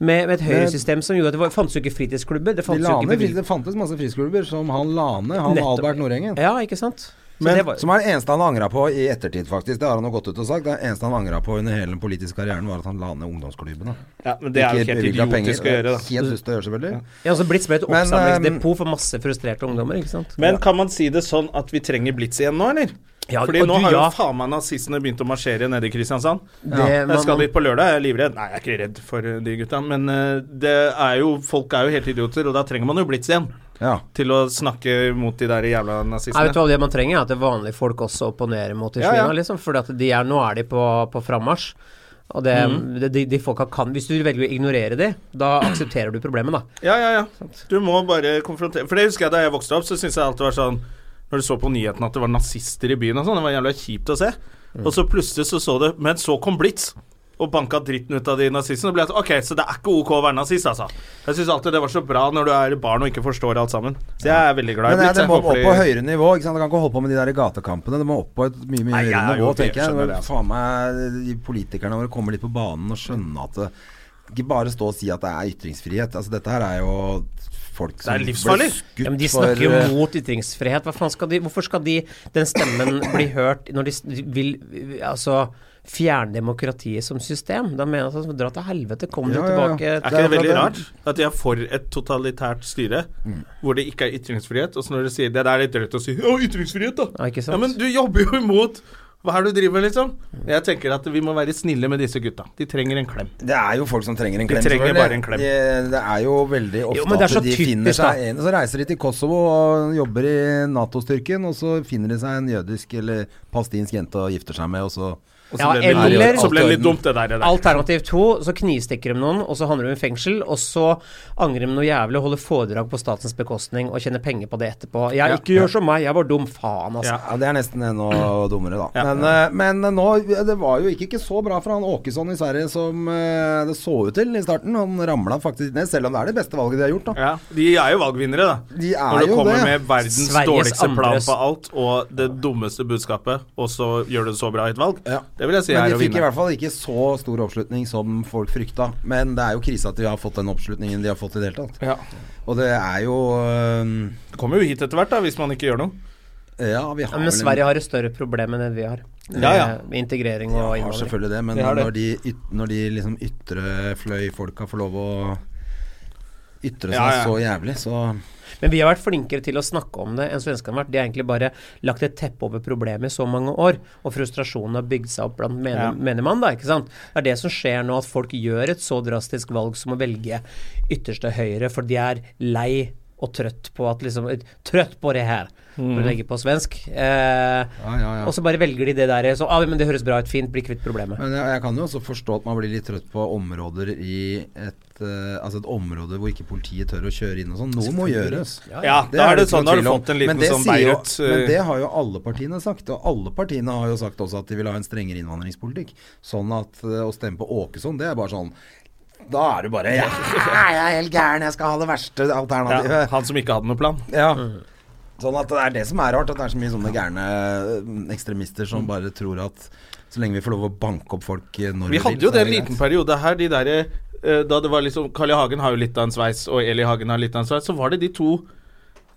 Med, med et høyresystem som gjorde at det var, fantes jo ikke fritidsklubber. Det De fantes jo Lane, ikke bevilg- det fantes masse frisklubber, som han Lane, han Nettopp. Albert Nordengen. Ja, ikke sant? Så Men, det var- som er det eneste han angra på i ettertid, faktisk. Det har han jo gått ut og sagt. Det eneste han angra på under hele den politiske karrieren, var at han la ned ungdomsklubbene. ja, men det er jo Ikke helt bevilget penger. idiotisk å gjøre, da. Det er Helt dust å gjøre, selvfølgelig. Ja, altså Blitz ble et Men, oppsamlingsdepot for masse frustrerte ungdommer, ikke sant? Men kan man si det sånn at vi trenger Blitz igjen nå, eller? Ja, Fordi og nå du, har jo ja. faen meg nazistene begynt å marsjere nede i Kristiansand. Det, Eh, man, Jeg skal dit på lørdag, jeg er livredd. Nei, jeg er ikke redd for eh, de gutta, men eh, det er jo, folk er jo helt idioter, og da trenger man jo Blitz igjen Ja. til å snakke mot de der jævla Nei, vet du nazistene. hva det man trenger? Er at det vanlige folk også opponerer mot i Ja, Kina, ja. liksom. For at de er, nå er de på, på frammarsj. Og det, det, de, de folka kan Hvis du velger å ignorere de, da aksepterer du problemet, da. Ja, ja, ja. Du må bare konfrontere For det husker jeg da jeg vokste opp, så syntes jeg alltid var sånn Når du så på nyhetene at det var nazister i byen og sånn, det var jævla kjipt å se. Mm. Og så plutselig så så du Men så kom Blitz. Og banka dritten ut av de nazistene. Og ble jeg sånn, ok, Så det er ikke ok å være nazist, altså. Jeg syns alltid det var så bra når du er barn og ikke forstår alt sammen. Så jeg er veldig glad i Men det, Blitz. det jeg må håper opp de- på høyere nivå. ikke sant? Du kan ikke holde på med de der gatekampene. Det må opp på et mye mye Nei, jeg høyere er jo nivå, ok, tenker jeg. skjønner Det må det, altså. Faen meg de Politikerne våre kommer litt på banen og skjønner at det, Ikke bare stå og si at det er ytringsfrihet. Altså, dette her er jo folk som er livsfarlig. skutt Ja, men de for snakker jo eh, mot ytringsfrihet. Hva faen skal de, hvorfor skal de, den stemmen bli hørt når de s- de vil eh, altså, fjerne demokratiet som system? Da mener jeg at de dra til helvete. Kom Ja, dere ja, ja. tilbake. Det Er ikke er det veldig akkurat rart at de er for et totalitært styre hvor det ikke er ytringsfrihet, og så når de sier det, det er litt drøyt å si Å, ytringsfrihet, da! Ja, ikke sant? Ja, men du jobber jo imot hva er det du driver med, liksom? Jeg tenker at vi må være snille med disse gutta. De trenger en klem. Det er jo folk som trenger en De klem. trenger selvfølgelig. bare en klem. Det, det er jo veldig ofte Jo, men det er så at de typisk, finner seg da. en Så reiser de til Kosovo og jobber i Nato-styrken, og så finner de seg en jødisk eller palestinsk jente og gifter seg med, og så Og så Ja, ble det litt- eller- så ble det litt dumt, det der. Det der. Alternativ to, så knivstikker de noen, og så handler de i fengsel, og så angrer de noe jævlig og holder foredrag på statens bekostning og tjener penger på det etterpå. Jeg Ja. ikke gjør som meg, jeg var dum, faen, altså. Ja. Ja, det er nesten enda dummere, da. Ja. Men, eh, men eh, nå Det var jo ikke, ikke så bra for han Åkesson i Sverige som eh, det så ut til i starten. Han ramla faktisk ned, selv om det er det beste valget de har gjort, da. Ja, de er jo valgvinnere, da. De er Når du jo kommer det. med verdens Sveriges dårligste plan andres- på alt og det dummeste budskapet, og så gjør du det så bra i et valg. Ja. Det vil jeg si Men er de å fikk i vinne. hvert fall ikke så stor oppslutning som folk frykta. Men det er jo krise at de har fått den oppslutningen de har fått i det hele tatt. Ja. Og det er jo eh, Du kommer jo hit etter hvert, da, hvis man ikke gjør noe. Ja, vi har Men vel en- Sverige har et større problem enn det vi har. Med, Ja, ja. med integrering Ja, og har innvandring. selvfølgelig det, men Det har det. Når, de yt, når de liksom ytre fløy-folka får lov å ytre seg Ja, ja. så jævlig, så Men vi har vært flinkere til å snakke om det enn svenskene har vært. De har egentlig bare lagt et teppe over problemet i så mange år, og frustrasjonen har bygd seg opp blant men Ja. menigmann, da, ikke sant. Det er det som skjer nå, at folk gjør et så drastisk valg som å velge ytterste høyre, for de er lei og trøtt på at liksom Trøtt på det her, for Mhm. å legge på svensk. Eh, Ja, ja, ja. Og så bare velger de det der. Så, ah, men det høres bra ut, fint, bli kvitt problemet. Men jeg, jeg kan jo også forstå at man blir litt trøtt på områder i et eh, Altså et område hvor ikke politiet tør å kjøre inn og sånn. Noe må gjøres. Ja, da er det ikke noe sånn, da har du tvil om. fått en Men liten det sånn sier jo- Beirut Men det eh, har jo alle partiene sagt. Og alle partiene har jo sagt også at de vil ha en strengere innvandringspolitikk. Sånn at eh, å stemme på Åkesson, det er bare sånn Da er du bare Ja, jeg er helt gæren, jeg skal ha det verste ja, alternativet. Han som ikke hadde noen plan. Ja. Sånn at det er det som er rart, at det er så mye sånne gærne eh, ekstremister Mm. som bare tror at så lenge vi får lov å banke opp folk eh, når Vi vil, hadde jo så det er en liten greit. periode her, de derre eh, Da det var liksom Carl I. Hagen har jo litt av en sveis, og Eli Hagen har litt av en sveis, så var det de to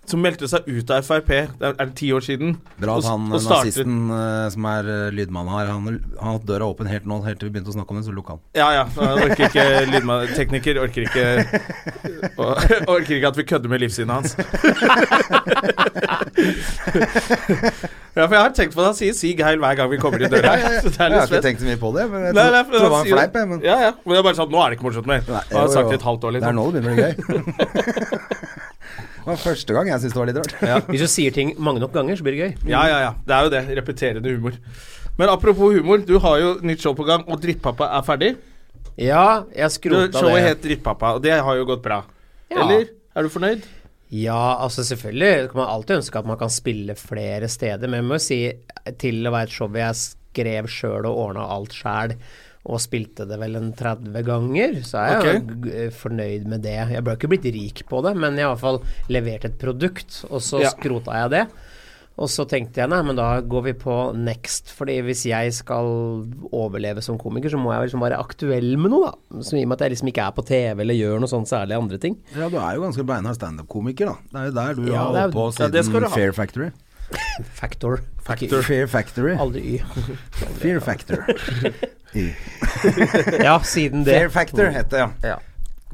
som meldte seg ut av Frp, det er er det ti år siden? Bra og- at han eh, og startet- nazisten eh, som er eh, lydmann her, han han har hatt døra åpen helt nå, helt til vi begynte å snakke om det, så lukka han. Ja, ja. Jeg orker ikke lydmann- Tekniker orker ikke og- Orker ikke at vi kødder med livssynet hans. ja, for jeg har tenkt på det. Han sier 'sig heil' hver gang vi kommer i døra. Så det Jeg har er litt ikke spent. tenkt så mye på det, men jeg Nei, trodde nei, for trodde det var en han sier- fleip, jeg, men Ja, ja. Men det er bare sånn Nå er det ikke morsomt mer. Nei, Han har jo, sagt jo. det i et halvt år, Det er liksom. nå det begynner å bli gøy. det var første gang jeg syntes det var litt rart. Hvis du sier ting mange nok ganger, så blir det gøy. Ja, ja, ja. Det er jo det. Repeterende humor. Men apropos humor, du har jo nytt show på gang, og Drittpappa er ferdig. Ja, jeg Du, skrota showet det. het Drittpappa, og det har jo gått bra. Eller? Er du fornøyd? Ja, altså selvfølgelig kan man alltid ønske at man kan spille flere steder, men jeg må jo si til å være et show jeg skrev sjøl og ordna alt sjæl, og spilte det vel en 30 ganger, så er jeg Ok. jo g- eh, fornøyd med det. Jeg ble ikke blitt rik på det, men jeg har i hvert fall levert et produkt, og så Ja. skrota jeg det. Og så tenkte jeg nei, men da går vi på next, fordi hvis jeg skal overleve som komiker, så må jeg liksom være aktuell med noe, da. Som i og med at jeg liksom ikke er på TV eller gjør noe sånn særlig andre ting. Ja, du er jo ganske beinhard standup-komiker, da. Det er jo der du Ja, har det er- holdt på ja, det skal du siden ha. Fair Factory. Factor. Fair Factory. Aldri Y. Fear Factor. Ja, siden det. Fair Factor heter det, ja.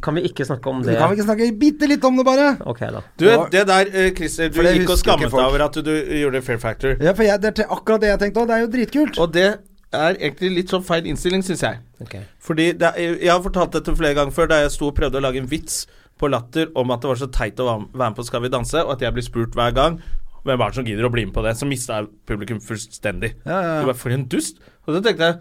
Kan vi ikke snakke om Du det? kan vi ikke snakke bitte litt om det, bare? Ok, da. Du, Det var- det der, eh, Christer, du For det gikk og husker jo ikke skammet deg folk. over at du, du gjorde Fair Factor. Ja, for jeg, det er til akkurat det jeg tenkte òg. Det er jo dritkult. Og det er egentlig litt sånn feil innstilling, syns jeg. Ok. Fordi det er, Jeg har fortalt dette flere ganger før, da jeg sto og prøvde å lage en vits på Latter om at det var så teit å være være med på Skal vi danse, og at jeg blir spurt hver gang hvem er det som gidder å bli med på det. Så mista jeg publikum fullstendig. Ja, ja, ja. Det var For en dust. Og så tenkte jeg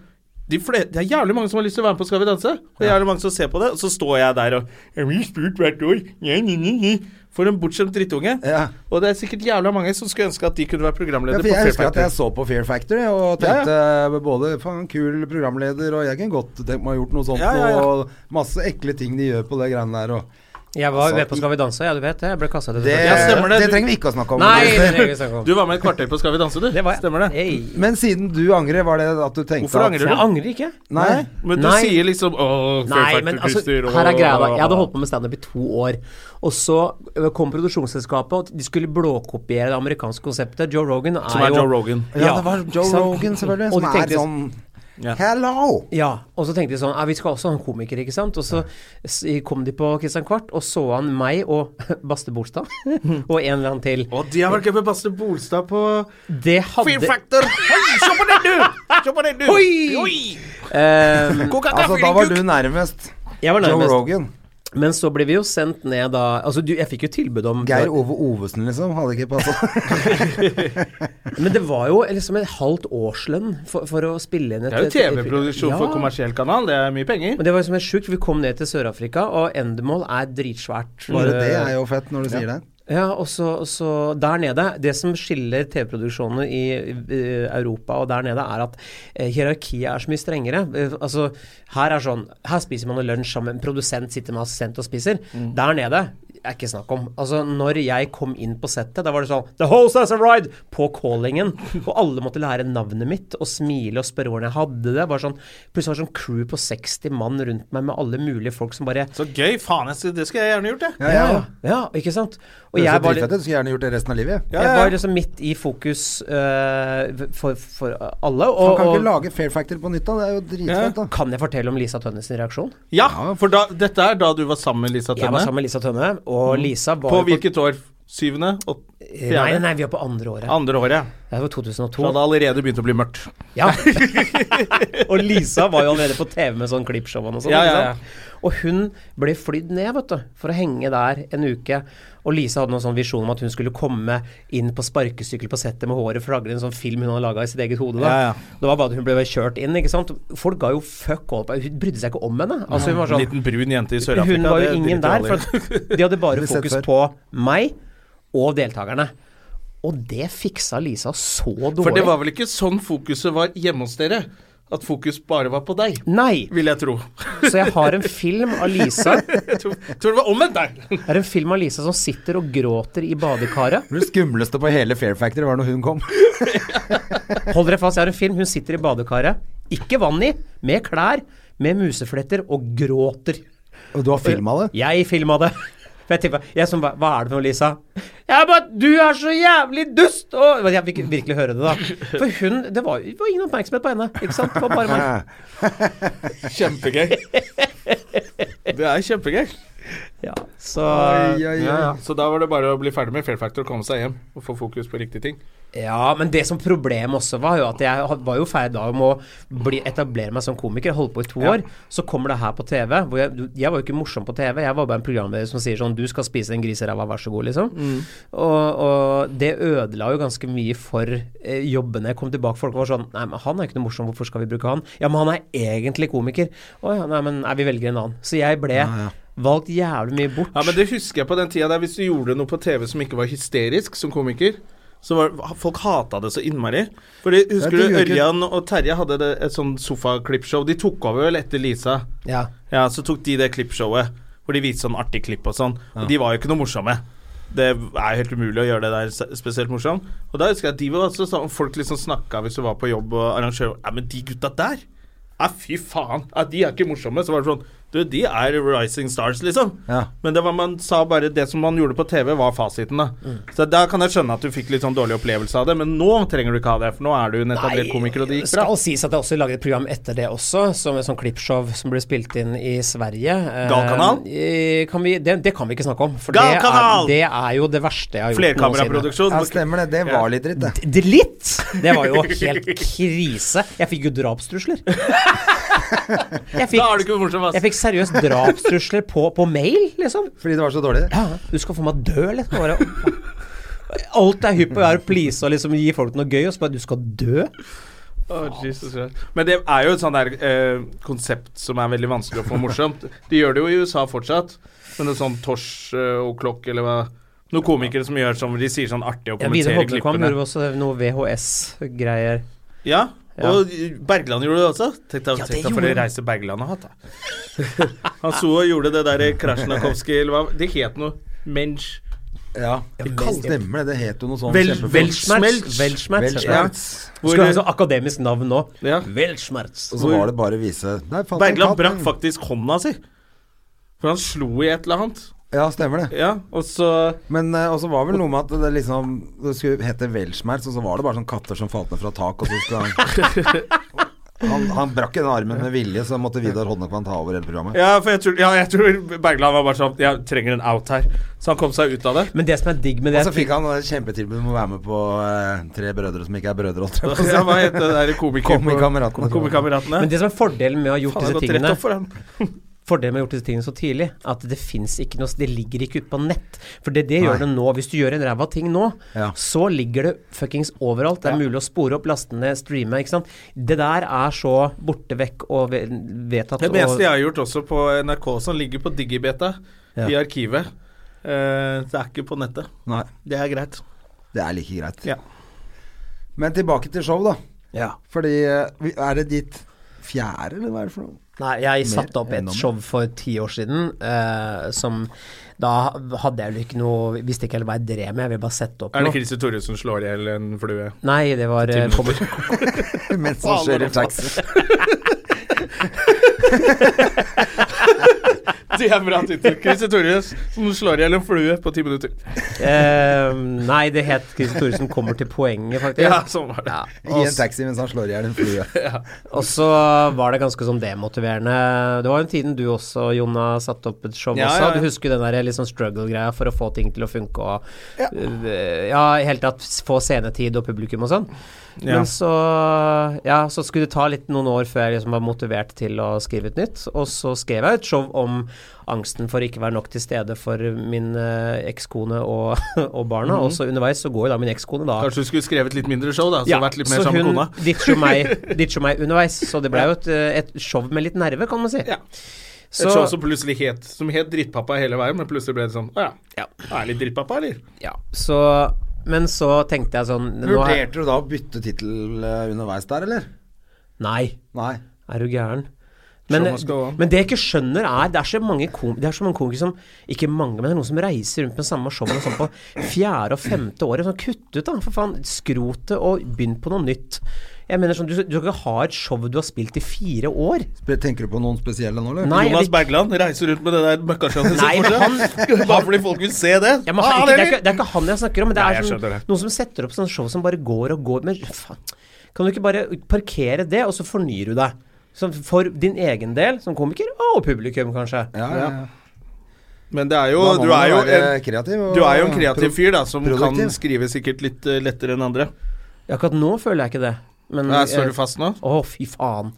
de fle- det er jævlig mange som har lyst til å være med på Skal vi danse. Og jævlig mange som ser på det. Og så står jeg der og Jeg blir spurt hvert år. Nye, nye, nye, nye. For en bortskjemt drittunge. Ja. Og det er sikkert jævla mange som skulle ønske at de kunne være Ja, programleder for jeg på husker at Fairfighter. jeg så på Fear Factory og tenkte eh, både faen, kul programleder, og jeg kunne godt tenkt meg å ha gjort noe sånt, Ja, ja, ja. og masse ekle ting de gjør på det greiene der. Og Jeg var Altså, med på Skal vi danse, ja, du vet det. Jeg ble kasta ut. det, Ja, stemmer det. det Du- trenger vi ikke å snakke om. Nei, det trenger vi ikke snakke om. Du var med et kvarter på Skal vi danse, du. Det var jeg. Stemmer det? Hey. Altså, Men siden du angrer, var det at du tenkte Hvorfor at- angrer du? Jeg angrer ikke. Nei. Men du Nei. sier liksom Å, Nei, men altså, Fairfighter-kuster her er greia da. Jeg hadde holdt på med standup i to år. Og så ø, kom produksjonsselskapet, og de skulle blåkopiere det amerikanske konseptet. Joe Rogan er, Som er jo Joe Rogan. Ja, det var Joe ikke sant? Rogan, selvfølgelig, Og som de er tenkte, sånn Ja. Hello! Ja, og så tenkte de sånn ja, Vi skal også ha en komiker, ikke sant? Og så s- kom de på Christian Kvart, og så han meg og Baste Bolstad. og en eller annen til. Og de har vært gøy med Baste Bolstad på Det Fear hadde Factor. Oi, se på den, du! Se på den, du! Oi! Ehm, Altså, da var du nærmest Jeg var Joe nærmest. Rogan. Men så ble vi jo sendt ned da Altså, du, jeg fikk jo tilbud om Geir Ove Ovesen, liksom, hadde ikke passa. Men det var jo liksom et halvt årslønn for, for å spille inn et Det er jo TV-produksjon for Ja. kommersiell kanal, det er mye penger. Men det var liksom helt sjukt. Vi kom ned til Sør-Afrika, og Endemol er dritsvært. Bare det Eh, er jo fett når du sier det. Ja, og så, og så der nede Det som skiller TV-produksjonene i, eh, Europa og der nede, er at eh, hierarkiet er så mye strengere. Eh, altså, her er sånn Her spiser man lunsj sammen. En produsent sitter med assistent og spiser. Mm. Der nede er ikke snakk om. Altså, når jeg kom inn på settet, da var det sånn The host has arrived! På callingen. Og alle måtte lære navnet mitt og smile og spørre hvordan jeg hadde det. Bare sånn, plutselig var det sånn crew på 60 mann rundt meg med alle mulige folk som bare Så gøy. Faen, jeg skal- det skulle jeg gjerne gjort, jeg. Ja, ja. ja, ja ikke sant? Og Det er jeg så var litt dritfett, Du skulle gjerne gjort det resten av livet. Ja. ja, ja. jeg var liksom midt i fokus eh, for, for alle. Man Og, kan ikke og lage Fair Factor på nytt, da. Det er jo dritfett, da. kan jeg fortelle om Lisa Tønnes reaksjon? Ja, for da, dette er da du var sammen med Lisa Jeg var Tønne. Mm. sammen med Lisa Tønne, og Lisa var På jo hvilket år? Syvende? Åt- Nei, nei, Fjerde? nei, vi var på andre året. Andre året. Det var Så 2002. hadde det allerede begynt å bli mørkt. Ja. og Lisa var jo allerede på TV med sånn klippshow og sånn. Ja, ja, ikke ja. sant? Og hun ble flydd ned, vet du, for å henge der en uke. Og Lisa hadde noen sånn visjon om at hun skulle komme inn på sparkesykkel på settet med håret flagrende, en sånn film hun hadde laga i sitt eget hode. Da. Ja, ja. Det var bare at hun ble kjørt inn, ikke sant. Folk ga jo fuck all på Hun brydde seg ikke om henne. Altså, hun var En sånn liten brun jente i Sør-Afrika. Hun var jo det ingen driter der, alle i. for at de hadde bare Har vi sett fokus før? på meg og deltakerne. Og det fiksa Lisa så dårlig. For det var vel ikke sånn fokuset var hjemme hos dere? At fokus bare var på deg, Nei! vil jeg tro. Så jeg har en film av Lisa Jeg tror, tror det var omvendt der. Jeg har en film av Lisa som sitter og gråter i badekaret. Det skumleste på hele Fair Factory var når hun kom. Hold dere fast, jeg har en film. Hun sitter i badekaret. Ikke vann i, med klær, med musefletter, og gråter. Og du har filma det? Jeg filma det. For jeg tippet, jeg som, ba, Hva er det for noe, Lisa? Jeg bare, Du er så jævlig dust! Og jeg fikk virkelig høre det, da. For hun Det var, det var ingen oppmerksomhet på henne. Ikke sant? Det var bare meg. Kjempegøy. Det er kjempegøy. Ja, så Så da var det bare å bli ferdig med Fair Factor, komme seg hjem og få fokus på riktige ting. Ja, men det som problem også var jo at jeg had- var jo ferdig da om å bli, etablere meg som komiker. Jeg Holdt på i to år. Så kommer det her på TV. Hvor jeg, du- jeg var jo ikke morsom på TV. Jeg var bare en programleder som sier sånn Du skal spise en griseræva, vær så god, liksom. Mm. Og, og det ødela jo ganske mye for eh, jobbene. Jeg kom tilbake, folk var sånn Nei, men han er ikke noe morsom, hvorfor skal vi bruke han? Ja, men han er egentlig komiker. Å ja, nei, men nei, vi velger en annen. Så jeg ble valgt jævlig mye bort. Ja, men det husker jeg på den tida der hvis du gjorde noe på TV som ikke var hysterisk som komiker. Så var, Folk hata det så innmari. Fordi Husker Ja, det du gjør ikke- Ørjan og Terje hadde det, et sånn sofaklippshow? De tok over vel etter Lisa. ja. Ja, så tok de det klippshowet hvor de viste sånn artig klipp og sånn. Og de var jo ikke noe morsomme. Det er jo helt umulig å gjøre det der s- spesielt morsomt. Og da husker jeg at de var også sånn Folk liksom snakka hvis du var på jobb og arrangør Ja, men de gutta der Ja, fy faen. Ja, de er ikke morsomme. Så var det sånn Du, de er rising stars, liksom. Ja. Men det var man sa bare det som man gjorde på TV, var fasiten, da. Mm. Så da kan jeg skjønne at du fikk litt sånn dårlig opplevelse av det, men nå trenger du ikke ha det, for nå er du en etablert komiker, og det gikk bra. skal sies at jeg også laget et program etter det også, som et sånn klippshow som ble spilt inn i Sverige. Eh, Galkanal? eh, Kan vi, det, det kan vi ikke snakke om, for det er, Galkanal! det er jo det verste jeg har gjort noensinne. Flerkameraproduksjon. Ja, stemmer det. Det var litt dritt, det. Det litt! Det var jo helt krise. Jeg fikk jo drapstrusler. Da er Jeg du fikk, ikke morsom, ass. jeg fikk seriøst drapstrusler på, på mail, liksom. Fordi det var så dårlig. Ja, du skal få meg dø, liksom. Bare. Alt er hypp på å please og liksom gi folk noe gøy, og så bare du skal dø. Å, Jesus Christ. Men det er jo et sånn der eh, konsept som er veldig vanskelig å få morsomt. De gjør det jo i USA fortsatt, men en sånn Tosh eh, og Klokk eller hva Noen komikere som gjør sånn, de sier sånn artig og Ja, Vidar kommenterer Hodnekvam klippene. gjorde vi også noe VHS-greier. Ja, Ja. og Bergland gjorde det også. Tenk deg, Ja, tenk det deg for en gjorde han. reise Bergland har hatt, da. Han sto og gjorde det der Krasjnakovskij eller hva Det het noe. Mensch. Ja, stemmer det. Det het jo noe sånn sånt. Vel- kjempefort. Weltschmerz. Weltschmerz. Ja. Weltschmerz. Hvor- Skulle ha så akademisk navn nå. Ja. Weltschmerz. Og så var det bare å vise Nei, fant en Bergland katt. brakk faktisk hånda si. For han slo i et eller annet. Ja, stemmer det. Ja, og så Men eh, også var vel noe med at det liksom Det skulle hete Welschmerz, og så var det bare sånne katter som falt ned fra tak, og så skulle han Han, han brakk den armen med vilje, så måtte Vidar Hodnekvam ta over hele programmet. Ja, for jeg tror, ja, jeg tror Bergland var bare sånn Jeg trenger en out her. Så han kom seg ut av det. Men det som er digg med Og det så fikk han et kjempetilbud om å være med på eh, Tre brødre som ikke er brødre. holdt jeg på å si. Ja, hva het det der komiker... Komikameratene. Komikameratene. men det som er fordelen med å ha gjort Faen, jeg har disse gått rett tingene opp for den. Fordelen med å ha gjort disse tingene så tidlig, at det finnes ikke noe Det ligger ikke ute på nett. For det, det gjør det nå. Hvis du gjør en ræva ting nå, Ja. så ligger det fuckings overalt. Det er mulig å spore opp, laste ned, streame, ikke sant. Det der er så borte vekk og ve- vedtatt. Det og- meste jeg har gjort også på NRK, som ligger på Digibeta i arkivet. Eh, det er ikke på nettet. Nei, Det er greit. det er like greit. Ja. Men tilbake til show, da. ja. Fordi eh, vi- Er det ditt fjerde, eller hva er det for noe? Nei, jeg satte opp ennå mer. et show for ti år siden eh, som Da hadde jeg vel ikke noe Visste ikke helt hva jeg drev med, jeg ville bare sette opp Er det noe. Christer Thoresen slår i hjel en flue? Nei, det var eh, Timothy. kom- Mens han kjører taxi. Det er bra tittel. Christer Thoresen slår i hjel en flue på ti minutter. eh, Nei, det het Christer Thoresen kommer til poenget, faktisk. Ja, sånn var det. Ja. I en taxi mens han slår i hjel en flue. Og så var det ganske sånn demotiverende. Det var jo en tiden du også, Jonna, satte opp et show Ja, også. ja, ja. Du husker jo den der litt sånn struggle-greia for å få ting til å funke og Ja, ja i hele tatt s- få scenetid og publikum og sånn. Ja. Men så Ja, så skulle det ta litt noen år før jeg liksom var motivert til å skrive et nytt. Og så skrev jeg et show om angsten for å ikke være nok til stede for min eh, ekskone og, og barna. Og så underveis så går jo da min ekskone da Mhm. Kanskje du skulle skrevet litt mindre show, da. Så Altså, vært litt mer så sammen med hun kona. ditcher meg, ditcher meg underveis, så det ble jo et, eh, et show med litt nerve, kan man si. Ja. Så, Et show som plutselig het Som het Drittpappa hele veien, men plutselig ble det sånn Å ja, Ja. er litt drittpappa, eller? ja, så Men så tenkte jeg sånn nå er, Vurderte du da å bytte tittel eh, underveis der, eller? Nei, Nei. er du gæren? Men, Showet skal gå an. men det jeg ikke skjønner, er Det er så mange kom- det er så mange komikere som Ikke mange, men det er noen som reiser rundt med samme showene sånn på fjerde og femte året. Sånn, kutt ut, da, for faen. Skrot det, og begynn på noe nytt. Jeg mener sånn, Du, du skal ikke ha et show du har spilt i fire år. Spe- Tenker du på noen spesielle nå, eller? Nei, jeg Jonas vil- Bergland reiser rundt med det der møkkasjønnet Nei, sitt men fortsatt. Bare fordi folk vil se det. Ja, men Ah, han, ikke, det, er eller? ikke, det er ikke han jeg snakker om, men det Nei, er jeg sånn, skjønner det. noen som setter opp sånne show som bare går og går. Men faen, kan du ikke bare parkere det, og så fornyer du deg? Sånn for din egen del, som komiker, og publikum, kanskje. Ja, ja, ja. Men det er jo Da må Du man er jo være en, kreativ. og- du er jo en kreativ pro- fyr, da, som produktiv. kan skrive sikkert litt eh, lettere enn andre. Akkurat nå føler jeg ikke det. Men Nei, står eh, du fast nå? Å, fy faen.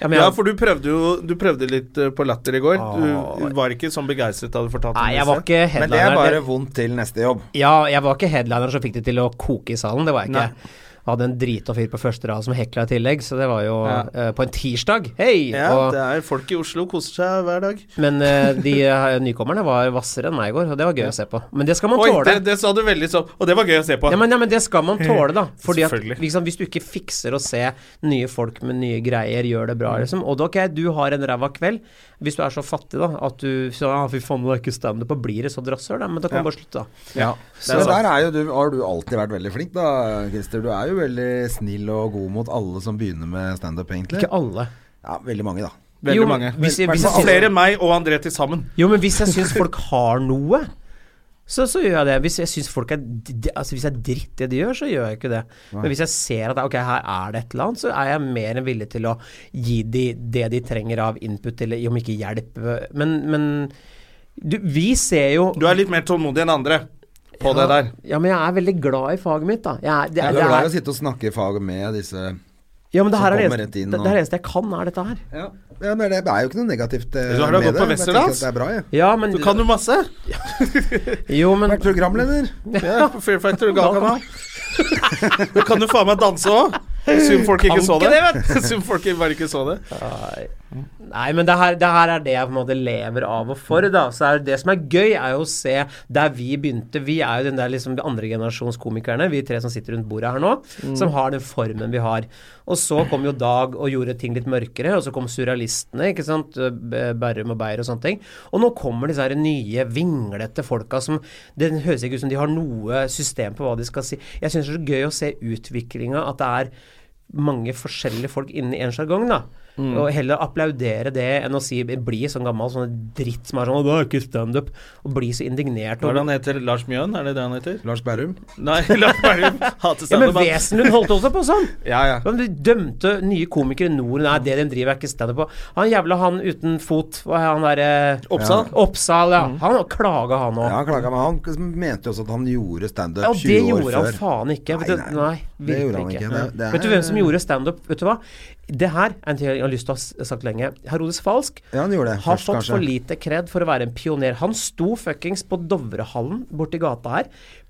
Ja, men Ja, jeg, for du prøvde jo Du prøvde litt eh, på latter i går. Du Åh. var ikke sånn begeistret da du fortalte nei, om jeg var disse. ikke Men det er headliner. bare vondt til neste jobb. Ja, jeg var ikke headliner som fikk det til å koke i salen. Det var jeg ikke. Jeg hadde en drita fyr på første rad som hekla i tillegg, så det var jo eh, på en tirsdag. Hei! Ja, og- det er folk i Oslo koser seg hver dag. Men eh, de eh, nykommerne var hvassere enn meg i går, og det var gøy å se på. Men det skal man Oi, tåle. det, det sa du veldig sånn. Og det var gøy å se på. Ja men, ja, men det skal man tåle, da. Fordi at Selvfølgelig. liksom, Hvis du ikke fikser å se nye folk med nye greier, gjør det bra, liksom. Og da, ok, du har en ræva kveld. Hvis du er så fattig, da, at du sier ah, 'fy faen, det er ikke standup', og blir det så rasshøl, da, men da kan du bare slutte, da. Ja. er Så sant. der er jo du, har du alltid vært veldig flink, da, Christer. Du er jo veldig snill og god mot alle som begynner med standup, egentlig. Ikke alle. Ja, veldig mange, da. Veldig jo, mange. hvis jeg- hvis Men jeg- flere enn meg og André til sammen. Jo, men hvis jeg syns folk har noe, så, så gjør jeg det. Hvis jeg syns folk er d- d- Altså hvis jeg er dritt det de gjør, så gjør jeg ikke det. Men hvis jeg ser at ok, her er det et eller annet, så er jeg mer enn villig til å gi de det de trenger av input, eller om ikke hjelp Men, men du, vi ser jo Du er litt mer tålmodig enn andre på det der. Ja, men jeg er veldig glad i faget mitt, da. Jeg er, det, Du er- er det glad i å er, sitte og snakke i fag med disse ja, men det som her er det kommer eneste, rett inn det, og- det er det eneste jeg kan, er dette her. Ja, men det er jo ikke noe negativt eh, Du har da med gått på det. Jeg tenker Westerdals? at Det er bra, jeg. Ja, men Du kan jo masse. Jo, men Vært programleder. Ja, på Fear Factor og Gal Kanal. Du kan jo faen meg danse òg. Synd folk ikke Kan så ikke det. det, Synd folk bare ikke så det. Nei, men det her, det her er det jeg på en måte lever av og for. da Så er Det som er gøy, er jo å se der vi begynte. Vi er jo den der liksom andregenerasjons komikerne, vi tre som sitter rundt bordet her nå, som har den formen vi har. Og så kom jo Dag og gjorde ting litt mørkere, og så kom surrealistene, ikke sant. B- Berrum og Beyer og sånne ting. Og nå kommer disse her nye, vinglete folka som Det høres ikke ut som de har noe system på hva de skal si. Jeg syns det er så gøy å se utviklinga, at det er mange forskjellige folk inni en sjargong, da. Mm. Og heller applaudere det enn å si bli sånn gammel sånn dritt som er sånn 'Å, det er ikke standup', og bli så indignert. Hva er det Og, han heter? Lars Mjøen? Er det det han heter? Lars Berrum. Nei, Lars Berrum. Hater ja, standup. men han. Wesenlund holdt også på sånn! Ja, ja. Men de dømte nye komikere i Norden. Nei, det de driver er ikke standup på. Han jævla han uten fot, hva er han derre Oppsal? Mm. Oppsal, ja. Han klaga, han Ja, òg. han klaga, men han mente jo også at han gjorde standup Ja, og det 20 år gjorde før. han faen ikke. Vet du, Nei, nei, nei. Det gjorde han virkelig ikke. ikke. Det- det Vet du er- hvem som gjorde standup? Vet du hva? Det her er en ting jeg har lyst til å ha s- sagt lenge. Herodes Falsk Ja, han gjorde det har først, fått kanskje. for lite kred for å være en pioner. Han sto fuckings på Dovrehallen borti gata her,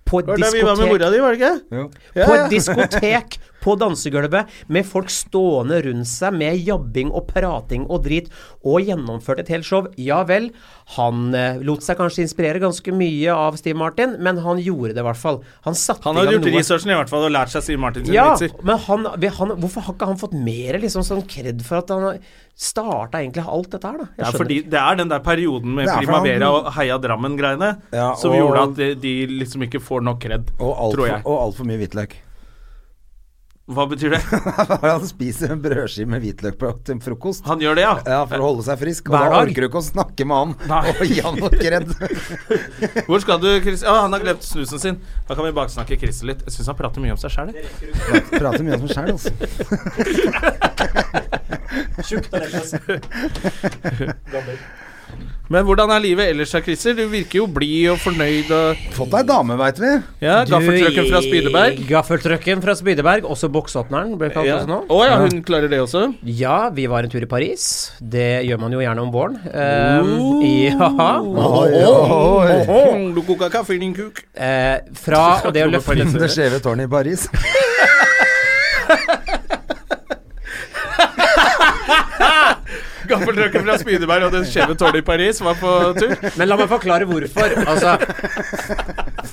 på et Var det der vi var med diskotek mora di, var det ikke? Jo. Ja, på ja. et diskotek på dansegulvet med folk stående rundt seg med jabbing og prating og drit, og gjennomførte et helt show. Ja vel, han eh, lot seg kanskje inspirere ganske mye av Steve Martin, men han gjorde det i hvert fall. Han satte Han i hadde gang gjort noe. researchen i hvert fall og lært seg Siv Martin sine Ja, vitser. men han, vi- han, hvorfor har ikke han fått mer liksom, sånn kred for at han starta egentlig alt dette her, da? Jeg Det er, skjønner fordi, ikke. det er den der perioden med Det er for Primavera han- og Heia Drammen-greiene Ja, som og- gjorde at de, de liksom ikke får nok kred, Og tror jeg. altfor alt for mye hvitløk. Hva betyr det? han spiser en brødskive med hvitløk på til frokost. Han gjør det, ja. Ja, For å holde seg frisk. Og Hver da dag. orker du ikke å snakke med han Nei. og gi han noe kredd. Hvor skal du, Chris? Å, han har glemt snusen sin. Da kan vi baksnakke Chris litt. Jeg syns han prater mye om seg sjæl. Prater mye om seg sjæl, altså. Men hvordan er livet ellers da, Christer? Du virker jo blid og fornøyd og Fått deg dame, veit vi. Ja, gaffeltrucken fra Du, Spydeberg. Gaffeltrucken fra Spydeberg, også boksåpneren, ble det kalt Ja. også nå. Å ja, hun klarer det også? Ja, vi var en tur i Paris. Det gjør man jo gjerne om våren. Um, ja. Åh, Du koker kaffe i din kuk. Eh, fra og det å løfte Det skjeve tårnet i Paris. Gaffeltrucken fra Spydeberg og den skjeve tårnet i Paris var på tur. Men la meg forklare hvorfor. Altså,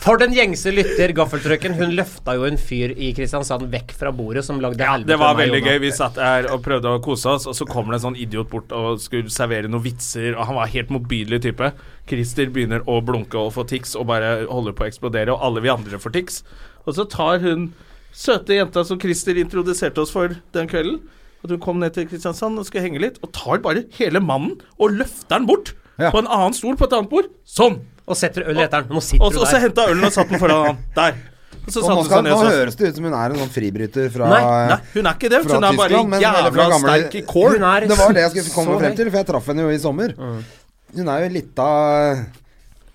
for den gjengse lytter, gaffeltrucken, hun løfta jo en fyr i Kristiansand vekk fra bordet som lagde helvete Det var av meg, veldig Jonas. gøy. Vi satt her og prøvde å kose oss, og så kommer det en sånn idiot bort og skulle servere noen vitser, og han var helt motbydelig type. Christer begynner å blunke og få tics og bare holder på å eksplodere, og alle vi andre får tics. Og så tar hun søte jenta som Christer introduserte oss for den kvelden, at hun kom ned til Kristiansand og skulle henge litt, og tar bare hele mannen og løfter den bort Ja. på en annen stol på et annet bord. Sånn! Og setter øl i etteren. Nå sitter Og så- og så du der. henta ølen og satt den foran han. Der. Og Og så satte nå, hun seg skal, ned nå og så høres det ut som hun er en sånn fribryter fra Nei, Nei, hun er ikke det. Eh, fra Hun er bare Tyskland, men- eller fra jævla gamle- sterk i core. Hun er Det var det jeg skulle komme så frem høy. Mm. til, for jeg traff henne jo i sommer. Hun er jo litt av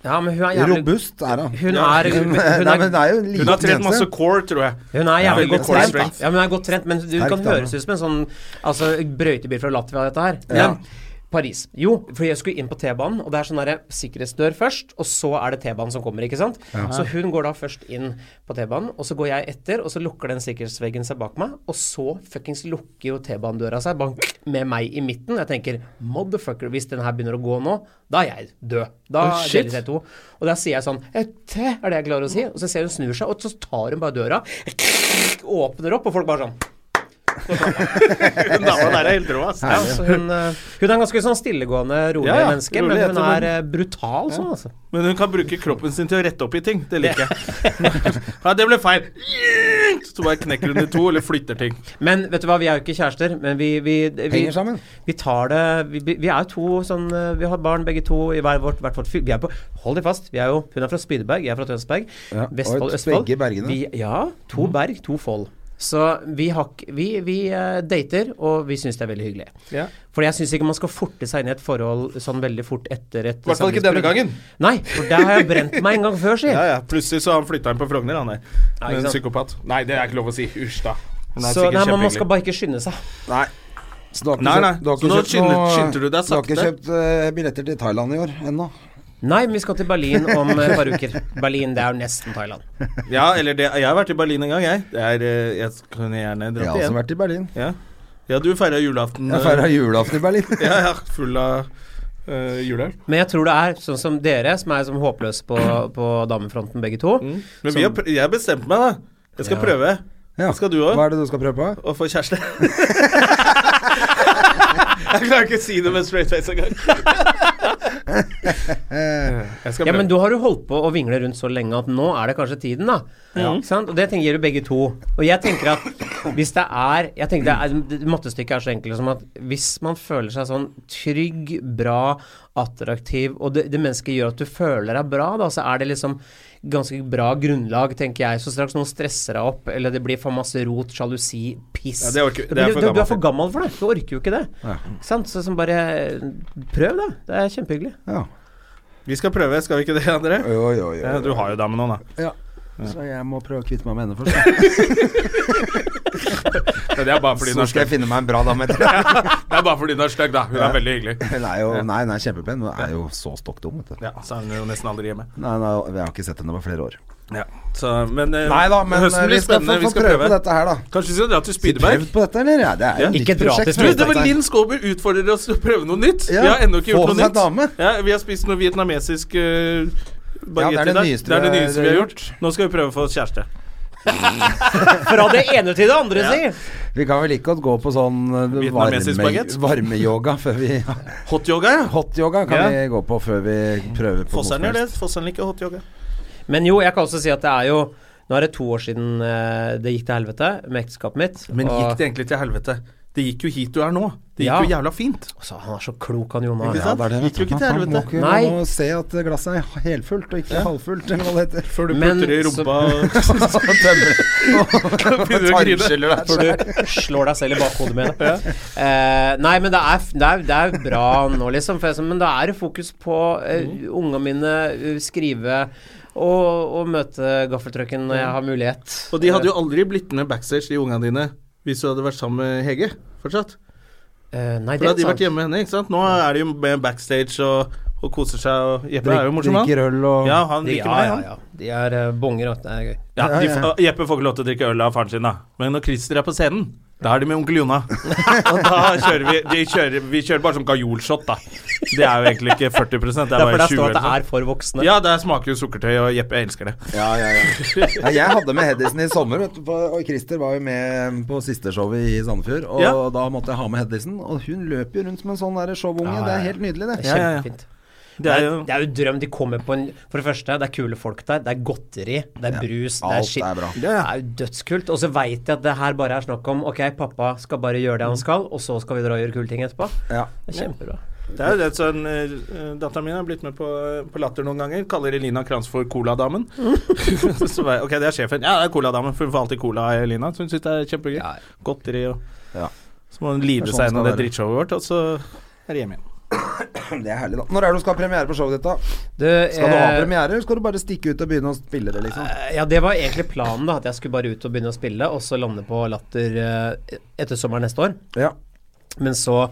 Ja, men hun er jævlig Robust er hun. Hun er- hun er- Nei, men det er jo en Hun har liten trent masse jente. core, tror jeg. hun er jævlig Veldig godt core trent. da. strength. Ja, men hun er godt trent, men du kan Sterkt, da. høres ut som en sånn altså, brøytebil fra Latvia, dette her. Men Ja. Paris. Jo, fordi jeg skulle inn på T-banen, og det er sånn derre sikkerhetsdør først, og så er det T-banen som kommer, ikke sant. Så hun går da først inn på T-banen, og så går jeg etter, og så lukker den sikkerhetsveggen seg bak meg, og så fuckings lukker jo T-banedøra seg bank, med meg i midten. Jeg tenker motherfucker, hvis den her begynner å gå nå, da er jeg død. Da Oh, shit. deler jeg to. Og da sier jeg sånn Ette, er det jeg klarer å si. Og så ser hun snur seg, og så tar hun bare døra, åpner opp, og folk bare sånn Hun dama der er helt rå, ass. ja, så hun, eh, hun er en ganske sånn stillegående, rolig Ja, ja, menneske, rolig men hun etterpå. er eh, brutal sånn, altså. Men hun kan bruke kroppen sin til å rette opp i ting. Det liker jeg. Ja, det ble feil. Så bare knekker hun i to, eller flytter ting. Men vet du hva, vi er jo ikke kjærester, men vi, vi, vi Henger sammen. Vi tar det Vi, vi vi er jo to sånn eh, Vi har barn begge to i hver vårt, hvert vårt fyr. Vi er på Hold deg fast. Vi er jo Hun er fra Spydeberg, jeg er fra Tønsberg. Ja, og Vestfold, et- Østfold. begge bergene. Vi, ja. To berg, to fold. Så vi, har, ikke- vi, vi eh, dater, og vi syns det er veldig hyggelig. Ja. For jeg syns ikke man skal forte seg inn i et forhold sånn veldig fort etter et I hvert fall ikke denne samlivsbrudd. gangen. Nei, for der har jeg brent meg en gang før, si. Ja, ja. Plutselig så har han flytta inn på Frogner, han der. Ja, ikke En sant. psykopat. Nei, det er ikke lov å si. Hysj, da. Hun er Så sikkert nei, man, man kjempehyggelig. skal bare ikke skynde seg. Nei. Så du har ikke Nei, nei. kjøpt- du har Så ikke nå kjøpt noe- skynder- skynder du deg Du har ikke sakte. kjøpt eh, billetter til Thailand i år ennå. Nei, men vi skal til Berlin om eh, et par uker. Berlin, det er jo nesten Thailand. Ja, eller det Jeg har vært i Berlin en gang, jeg. Det er, eh, jeg kunne gjerne Jeg dratt har også igjen. vært i Berlin. Ja. ja, du feira julaften. Jeg feira julaften i Berlin. eh, Ja, ja, full av uh, juleøl. Men jeg tror det er sånn som dere, som er som håpløse på, på damefronten begge to. Men vi har, pr- jeg bestemte meg, da. Jeg skal prøve Mm. Ja. Skal du også? Hva er det du skal prøve på? å få kjæreste. jeg klarer ikke å si det med straight face engang. jeg skal Ja, men prøve. da har du holdt på å vingle rundt så lenge at nå er det kanskje tiden, da. Ikke sant? Og det tenker du begge to. Og jeg tenker at hvis det er Jeg tenker det er, det- Mattestykket er så enkelt som at hvis man føler seg sånn trygg, bra, attraktiv, og det, det mennesket gjør at du føler deg bra, da, så er det liksom ganske bra grunnlag, tenker jeg. Så straks noen stresser deg opp, eller det blir for masse rot, sjalusi, piss Ja, det orker- Da det er blir for du, du, du gammel er for gammel for det. Du orker jo ikke det. Ja. Ikke sant? Så som bare eh, Prøv, da. Det er kjempehyggelig. Ja. Vi skal prøve, skal vi ikke det, André? Jo, jo, jo. Ja, du har jo dame nå, da. Ja. Så jeg må prøve å kvitte meg med henne først. Men Det er bare fordi hun Så er skal jeg stygg. finne meg en bra dame etter det. Det er bare fordi hun er stygg, da. Hun er veldig hyggelig. Hun er jo Nei, hun er kjempepen, men hun er jo så stokk dum, vet du. Ja, så er hun jo nesten aldri hjemme. Nei, nei, jeg har ikke sett henne på flere år. Ja, så, men eh, Nei da, men høsten vi skal blir få, spennende. Vi få skal prøve prøve. på dette her, da. Kanskje vi skal dra til Spydeberg? Prøvd på dette, eller? Ja, det er jo Ja. Ikke nytt et gratis prosjekt, Du, prøvd det var Linn Skåber utfordrer oss til å prøve noe nytt. Ja, Vi har ennå ikke få gjort noe seg nytt. dame. Ja, vi har spist noe vietnamesisk uh, Ja, det er det nyeste det er det vi- nyeste vi har gjort. Nå skal vi prøve å få oss kjæreste. Fra det ene til det andre, si! Vi kan vel ikke godt gå på sånn eh, Vietnamesisk varme- baguett? varmeyoga før vi Hotyoga, ja. Hotyoga kan Ja. vi gå på før vi prøver på Fosseren noe gjør som det. helst. Fosseren liker hotyoga. Men jo, jeg kan også si at det er jo Nå er det to år siden eh, det gikk til helvete med ekteskapet mitt. Men og- gikk det egentlig til helvete? Det gikk jo hit du er nå. Det gikk Ja. jo jævla fint. Altså, han er så klok, han Jonas. Ikke Ja, det er det, Gikk vet jo du. ikke til Man må helvete. ikke Nei. man må se at glasset er helfullt, og ikke halvfullt, eller hva det heter. Før du Men putter i så- rumpa og begynner å grine. Tarmskiller der. Før du slår deg selv i bakhodet med det. Eh, nei, men det er, f- det, er, det er bra nå, liksom. For jeg, men da er det fokus på Mm. uh, unga mine, eh, skrive og, og møte gaffeltrucken når jeg har mulighet. Og de hadde jo aldri blitt med backstage, de ungene dine, hvis du hadde vært sammen med Hege fortsatt. Eh, Nei, For da det er hadde de vært sant. hjemme med henne, ikke sant. Nå er de jo med backstage og, og koser seg, og Jeppe er jo morsom, han. Drikker øl og Ja, han De, liker ja, meg, ja, han. ja. De er eh, bonger, og det er gøy. Ja, Ja, de, ja. og Jeppe får ikke lov til å drikke øl av faren sin, da. Men når Christer er på scenen, da er de med onkel Jonna. Og da kjører vi de kjører, Vi kjører bare som gajolshot, da. Det er jo egentlig ikke 40 det er Det er bare fordi 20 det står at eller det noe er for voksne. sånt. Ja, det smaker jo sukkertøy, og Jeppe elsker det. Ja, ja, ja. ja jeg hadde med Hedisen i sommer, vet du, på- og Christer var jo med på siste showet i Sandefjord. Og Ja. da måtte jeg ha med Hedisen, og hun løper jo rundt som en sånn der showunge. Ja, ja, Det ja. er helt nydelig, det. Ja, Det er ja, ja. kjempefint. Det er jo det er jo drøm. De kommer på en For det første, det er kule folk der. Det er godteri, det er brus, det Alt er skitt. er bra. Det er jo dødskult. Og så veit jeg at det her bare er snakk om Ok, pappa skal bare gjøre det han skal, og så skal vi dra og gjøre kule ting etterpå. Mm. Ja. Det er kjempebra. Det er jo det sånn uh, Dattera mi har blitt med på, på Latter noen ganger. Kaller Elina Kranz for Coladamen. Så var jeg, ok, det er sjefen. Ja, det er Coladamen, for hun får alltid Cola av Elina. Så hun syns det er kjempegøy. Ja. Godteri og Ja. Så må hun lide Det er sånn seg gjennom skal det være. drittshowet vårt, og så er det hjemme igjen. Det er herlig, da. Når er det du skal ha premiere på showet ditt, da? Du, Skal du ha eh, premiere, eller skal du bare stikke ut og begynne å spille det, Eh, liksom? ja, det var egentlig planen, da. At jeg skulle bare ut og begynne å spille, og så lande på Latter eh, etter sommeren neste år. Ja. Men så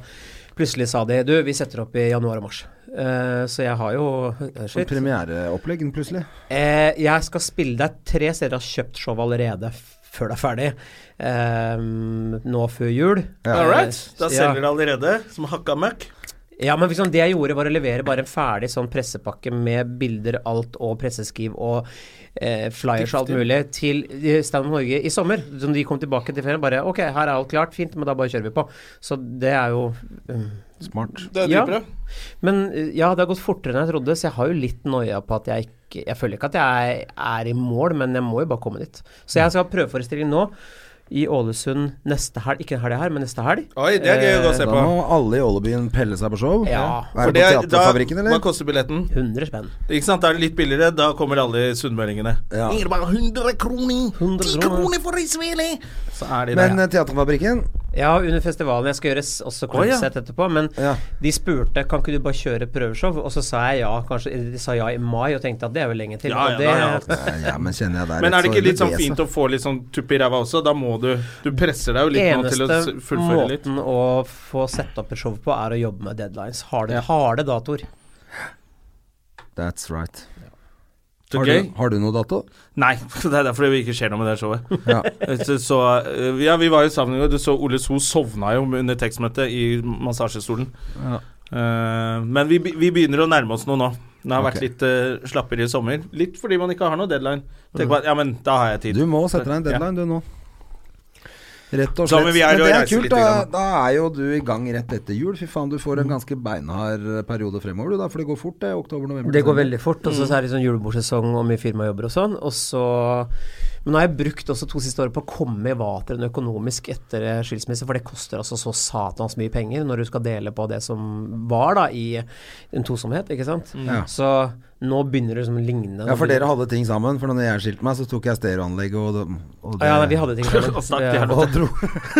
plutselig sa de Du, vi setter opp i januar og mars. Eh, så jeg har jo Sånn Premiereopplegg plutselig. Eh, jeg skal spille deg tre steder jeg har kjøpt show allerede f- før det er ferdig. Eh, nå før jul. Eh, Ja. All right. Da Ja. selger det allerede, som hakka møkk. Ja, men liksom det jeg gjorde, var å levere bare en ferdig sånn pressepakke med bilder, alt, og presseskriv og eh, flyers og alt mulig til eh, Stand Up Norge i sommer. Som de kom tilbake til ferien. Bare OK, her er alt klart, fint, men da bare kjører vi på. Så det er jo mm, Smart. Det er Ja. dritbra. Men eh, ja, det har gått fortere enn jeg trodde, så jeg har jo litt noia på at jeg ikke Jeg føler ikke at jeg er i mål, men jeg må jo bare komme dit. Så jeg skal ha prøveforestilling nå i Ålesund neste helg. Ikke denne helga her, men neste helg. Oi, det er gøy å gå Eh, og Da se på. må alle i Ålebyen pelle seg på show. Ja. Er det på er- da, Teaterfabrikken, hva eller? koster billetten? 100 spenn. Ikke sant, Da er det litt billigere. Da kommer alle sunnmøringene. Ja. Ingrid bare 100 kroner! 100 10 kroner. kroner for isvele! Så er de der. Men eh, Teaterfabrikken Ja, under festivalen. Jeg skal gjøre s- også Å, ja. klubbsett etterpå, men Ja. de spurte kan ikke du bare kjøre prøveshow, og så sa jeg ja, kanskje De sa ja i mai, og tenkte at det er vel eh, lenge til. Ja, og ja, da er alt det, Nei, Ja, men kjenner jeg deg Men er det så ikke litt sånn det fint så- å få litt sånn tupp i ræva også? Da må du Du presser deg jo litt nå til å s- Eneste fullføre litt. måten å få sett opp et show på, er å jobbe med deadlines. Harde, harde datoer. That's right. Så Har gøy. du, har du noe dato? Nei, det er derfor det ikke skjer noe med det showet. Ja. Så, så, eh, ja, vi var jo sammen i går. Du så Ole So sovna jo under tekstmøtet i massasjestolen. Ja. Eh, men vi, be- vi begynner å nærme oss noe nå. Det har vært Ok. litt eh, slappere i sommer. Litt fordi man ikke har noe deadline. Tenk på at, ja, men da har jeg tid. Du må sette deg en deadline, du nå. Rett og Da må slett. vi Men gjøre det å er reise kult, litt da, grann. da er jo du i gang rett etter jul. Fy faen, du får en ganske beinhard eh, periode fremover, du da. For det går fort, det. Oktober, november. Det går desember. veldig fort, og så er det sånn julebordsesong og mye firmajobber og sånn. Og så Men nå har jeg brukt også to siste år på å komme i vateren økonomisk etter eh, skilsmisse, for det koster altså så satans mye penger når du skal dele på det som var, da, i en tosomhet, ikke sant. Ja. Så nå begynner det liksom å ligne. Ja, for dere hadde ting sammen. For når jeg skilte meg, så tok jeg stereoanlegg og, og ja, nei, vi hadde ting Og stakk til sammen. Ja. helvete. og dro.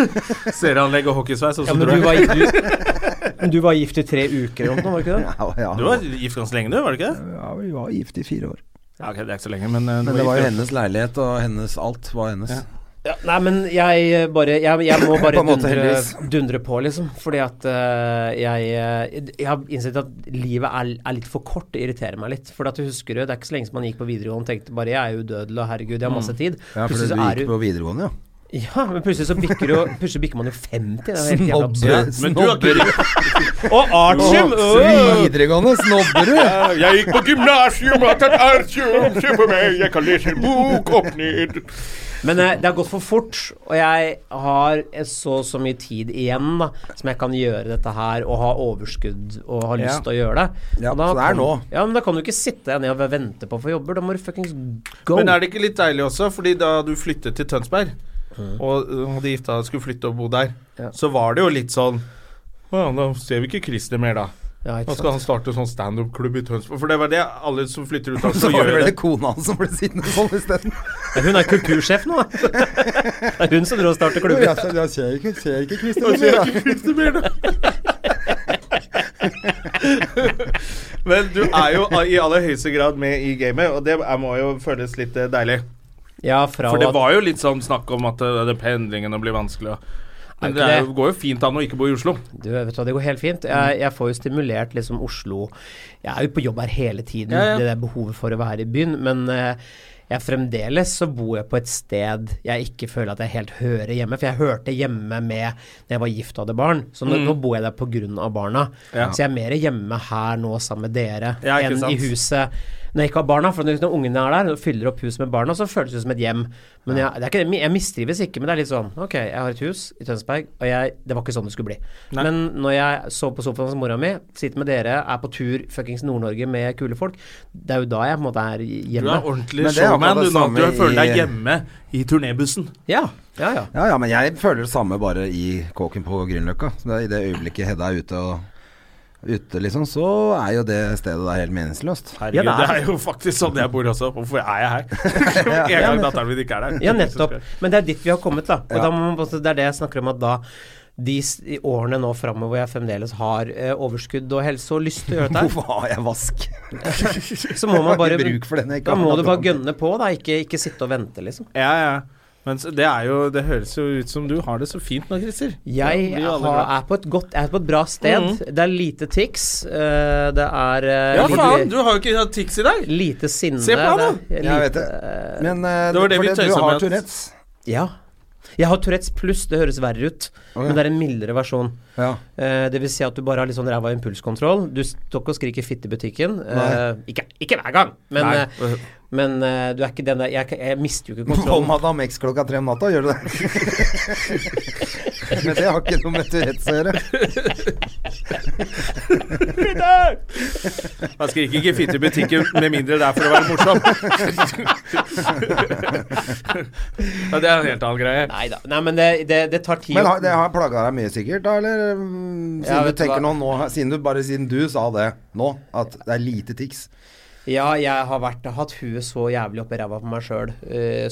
Serieanlegg og hockeysveis, og Ja, så men dro jeg. du var, du, du var gift i tre uker eller noe, var du ikke det? Ja, ja. Du var gift ganske lenge, du, var du ikke det? ja, vi var gift i fire år. Ja, ok, det er ikke så lenge, men, eh, du Men det var jo gift, hennes leilighet, og hennes alt var hennes. Ja, nei, men jeg eh, bare Jeg, jeg må bare På en måte, dundre, heldigvis. dundre på, liksom. Fordi at eh, jeg, eh, jeg har innsett at livet er, er litt for kort. Det irriterer meg litt. For at du husker jo, det er ikke så lenge som man gikk på videregående og tenkte bare jeg er udødelig og herregud, jeg har masse tid. Mm. Ja, for plutselig du så er gikk du på videregående, ja. Ja, men plutselig så bikker, jo, plutselig bikker man jo 50. Det er jo helt Snobbe. jævla absurd. ja. Men du har ikke Og artium! Å, Videregående, snobberud! Jeg gikk på gymnasium, har tatt artium, se på meg, jeg kan lese en bok opp ned. Men eh, det har gått for fort, og jeg har eh, så så mye tid igjen da, som jeg kan gjøre dette her, og ha overskudd og ha lyst Ja. til å gjøre det. Ja, Og da så det er kan, nå. Ja, men da kan du ikke sitte deg ned og vente på å få jobber. Da må du fuckings go. Men er det ikke litt deilig også, fordi da du flyttet til Tønsberg, og uh, de gifta skulle flytte og bo der, Mm. Ja. så var det jo litt sånn Å ja, da ser vi ikke Christer mer, da. ja, Nå ikke skal sant? han starte sånn standup-klubb i Tønsberg. For det var det alle som flytter ut av Så Oslo, var gjør det jo vel det. det kona hans som ble sittende sånn isteden. Ja, Hun er kultursjef nå, da. Det er hun som dro og startet klubben. Jeg ser ikke, ser ikke Christer Og så gjør ikke Christer mer det. Men du er jo i aller høyeste grad med i gamet, og det er- må jo føles litt eh, deilig. Ja, fra For det at- var jo litt sånn snakk om at eh, det pendlingene blir vanskelig. og- Men Er det ikke er, det? jo- går jo fint an å ikke bo i Oslo. Du, vet du hva, det går helt fint. Mm. Jeg, jeg får jo stimulert liksom Oslo Jeg er jo på jobb her hele tiden, Ja, ja. det der behovet for å være i byen, men eh, jeg fremdeles så bor jeg på et sted jeg ikke føler at jeg helt hører hjemme. For jeg hørte hjemme med når jeg var gift og hadde barn, så nå, nå bor jeg der på grunn av barna. Mm. Ja. Så jeg er mer hjemme her nå sammen med dere Ja, ikke enn sant. i huset når jeg ikke har barna. For når liksom ungene er der og fyller opp huset med barna, så føles det som et hjem. Men jeg, det er ikke, det- jeg mistrives ikke, men det er litt sånn Ok, jeg har et hus i Tønsberg, og jeg, det var ikke sånn det skulle bli. Nei. Men når jeg sover på sofaen hos mora mi, sitter med dere, er på tur fuckings Nord-Norge med kule folk, det er jo da jeg på en måte er Du er hjemme. ordentlig Men det er akkurat showman. Du, det nå. du samme i- føler deg hjemme i turnébussen. Ja, ja, ja. Ja, ja, men jeg føler det samme bare i kåken på Grünerløkka. Så det er I det øyeblikket Hedda er ute og ute, liksom, så er jo det stedet der helt meningsløst. Herregud, Ja, det, det er. er- jo faktisk sånn jeg bor også. Hvorfor er jeg her? en gang datteren min ikke er der. Ja, nettopp. Men det er dit vi har kommet, da. Og Ja. da må man, på en måte- det er det jeg snakker om at da de s- i årene nå framover hvor jeg fremdeles har eh, overskudd og helse og lyst til å gjøre dette her, Hvorfor har jeg vask? så må man Jeg har bare ikke bruk for den jeg ikke Da har må hatt du bare annet. gønne på, da. Ikke, ikke sitte og vente, liksom. Ja, ja. Men så- det er jo Det høres jo ut som du har det så fint nå, Christer. Jeg Ja, vi er alle har, glad. er, på et godt, jeg er på et bra sted. Det er lite tics. eh, det er eh, Ja, lite, faen! Du har jo ikke hatt tics i dag. lite sinne. Se på han, da. det er Jeg vet lite- det. Men eh, det var det vi fordi du tøysa med har at- Tourettes. Ja. Jeg har Tourettes pluss, det høres verre ut. Men det er en mildere versjon. Ja. Eh, det vil si at du bare har litt sånn ræva impulskontroll. Du står ikke og skriker 'fitte' i butikken. Eh, ikke, ikke hver gang, men, Nei. eh, men eh, du er ikke den der Jeg, jeg mister jo ikke På kontrollen. Madam X klokka tre om natta, gjør du det? Men det har ikke noe med Tourettes å gjøre. Man skriker ikke fitte i butikken med mindre det er for å være morsom. ja, det er en helt annen greie. Neida. Nei, men det, det, det tar tid. Men å- har, det har plaga deg mye sikkert, da, eller? mm, Ja, Siden du vet du tenker nå, hva? nå, siden du bare siden du sa det nå, at det er lite tics. Ja, jeg har vært, hatt huet så jævlig oppi ræva på meg sjøl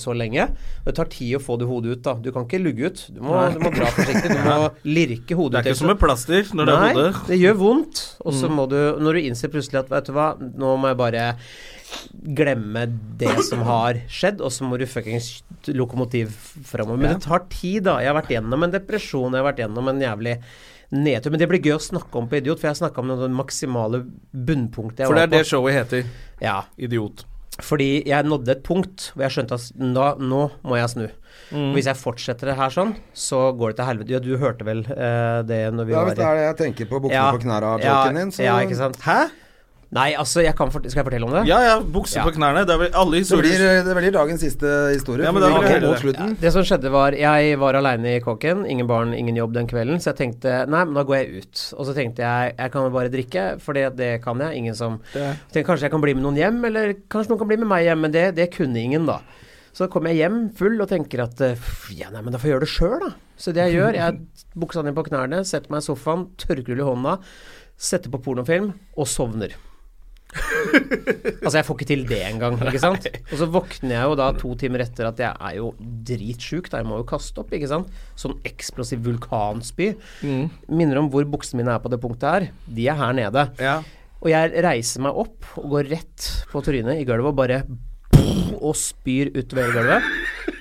så lenge. Og Det tar tid å få det hodet ut, da. Du kan ikke lugge ut. Du må, du må dra forsiktig. Du må lirke Det hodet er ut. ikke som med plaster når det er Nei, hodet. Mm. det gjør vondt. Og så må du, når du innser plutselig at vet du hva, nå må jeg bare glemme det som har skjedd, og så må du fuckings lokomotiv framover. Men det tar tid, da. Jeg har vært gjennom en depresjon, jeg har vært gjennom en jævlig nedtur. Men det blir gøy å snakke om på Idiot, for jeg snakka om det maksimale bunnpunktet jeg For det var er det på. showet heter. Ja, Idiot. fordi jeg nådde et punkt hvor jeg skjønte at nå, nå må jeg snu. Hvis jeg fortsetter det her sånn, så går det til helvete. Ja, du hørte vel eh, det når vi Ja, var hvis det er det jeg tenker på buksene på ja, knæra-joken din, så ja, ikke sant? Hæ? Nei, altså, jeg kan fort- skal jeg fortelle om det? Ja, ja, bukse Ja. på knærne. Det er vel alle det blir, historier det blir dagens siste historie. Ja, men for da vi vil jeg går mot høre slutten. Det som skjedde var, jeg var aleine i kåken, ingen barn, ingen jobb den kvelden, så jeg tenkte nei, men da går jeg ut. Og så tenkte jeg jeg kan bare drikke, for det, det kan jeg. Ingen som tenkte, Kanskje jeg kan bli med noen hjem, eller kanskje noen kan bli med meg hjem, men det, det kunne ingen, da. Så kom jeg hjem full og tenker at eh, ja, nei, men da får jeg gjøre det sjøl, da. Så det jeg gjør, jeg buksa ned på knærne, setter meg i sofaen, tørkrull i hånda, setter på pornofilm og sovner. Altså, jeg får ikke til det engang, ikke sant? Og så våkner jeg jo da to timer etter at jeg er jo dritsjuk, da jeg må jo kaste opp, ikke sant? Sånn eksplosiv vulkanspy. Mm. Minner om hvor buksene mine er på det punktet her. De er her nede. Ja. Og jeg reiser meg opp og går rett på trynet i gulvet og bare og spyr utover hele gulvet.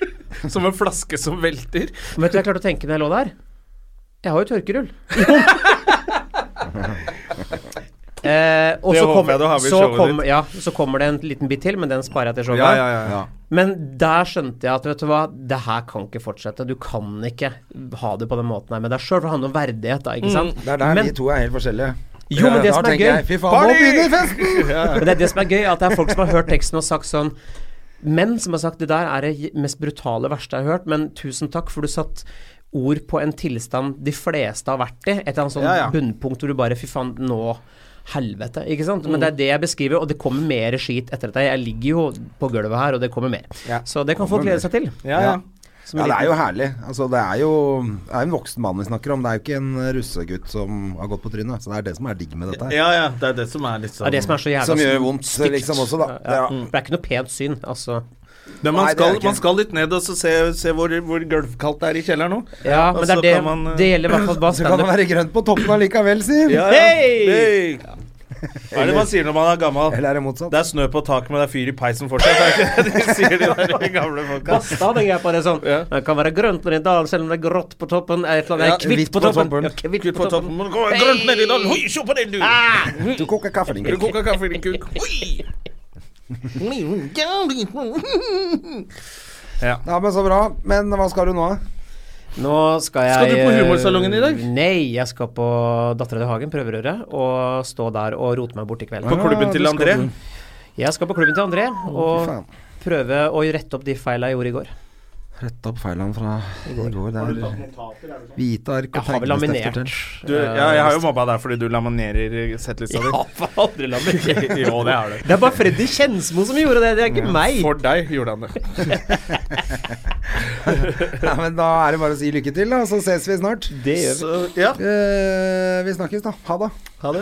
eh, som en flaske som velter. Men vet du hva jeg klarte å tenke når jeg lå der? Jeg har jo tørkerull. eh, og Det så håper kommer- jeg du har med i så showet kommer- Ja, så kommer det en liten bit til, men den sparer jeg til showet. ja. Men der skjønte jeg at vet du hva, det her kan ikke fortsette. Du kan ikke ha det på den måten her med deg sjøl, for det handler om verdighet, da, ikke sant? Det er der men, vi to er helt forskjellige. Jo, men det Da som er tenker gøy- jeg, Fy faen, nå Party! begynner festen! men det er det som er gøy, at det er folk som har hørt teksten og sagt sånn Menn som har sagt det der er det mest brutale verste jeg har hørt, men tusen takk, for du satt ord på en tilstand de fleste har vært i. Et eller annet sånn Ja, ja. bunnpunkt hvor du bare Fy faen, nå Helvete. Ikke sant? Men det er det jeg beskriver, og det kommer mer skit etter dette. Jeg ligger jo på gulvet her, og det kommer mer. Ja. Så det kan folk glede seg til. Ja, ja. Som Ja, en det er liten- jo herlig. Altså, det er jo det er en voksen mann vi snakker om. Det er jo ikke en russegutt som har gått på trynet. Så det er det som er digg med dette her. ja, ja. Det er det som er litt det sånn er det som er så jævla Som gjør vondt, stygt. liksom, også, da. Ja, ja. Ja. Det er ikke noe pent syn, altså. Men man, Nei, det er skal, ikke. man skal litt ned og så se, se hvor, hvor gulvkaldt det er i kjelleren nå. Ja, Og men det så er det kan man, eh, Det gjelder i hvert fall hva Så kan det standup være grønt på toppen allikevel, si. Ja, ja. Hei! Hei! Hva er det man sier når man er gammel? Eller er det motsatt? Det er snø på taket, men det er fyr i peisen fortsatt. Er det ikke det de sier, de der gamle folka? Basta den greia på det sånn. Ja. Det kan være grønt nedi dalen selv om det er grått på toppen. Er et eller Ja, annet, kvitt, hvitt på på toppen. toppen. Ja, kvitt Kutt på toppen. Men gå Grønt nedi dalen. Oi, se på den, du! Ah. Du koker kaffe, din Du kuk. koker kaffe i din kuk. Oi! Ja. Ja, men så bra. Men hva skal du nå? Nå skal jeg Skal du på humorsalongen i dag? Nei, jeg skal på Dattera til Hagen, prøverøret, og stå der og rote meg bort i kveld. På klubben til det skal André. du. Jeg skal på klubben til André og faen. prøve å rette opp de feila jeg gjorde i går. Rette opp feilene fra i går. Det sånn? er hvite ark Jeg og har vel laminert. tegnestifter til. Du, ja, jeg har jo mobba deg fordi du laminerer settlista di. Ja, for aldri laminert. Jo, det har du. Det er bare Freddy Kjensmo som gjorde det, det er ikke meg. For deg gjorde han det. Ja, men da er det bare å si lykke til, da. Så ses vi snart. Det gjør vi. Så, ja. Eh, vi snakkes, da. Ha det.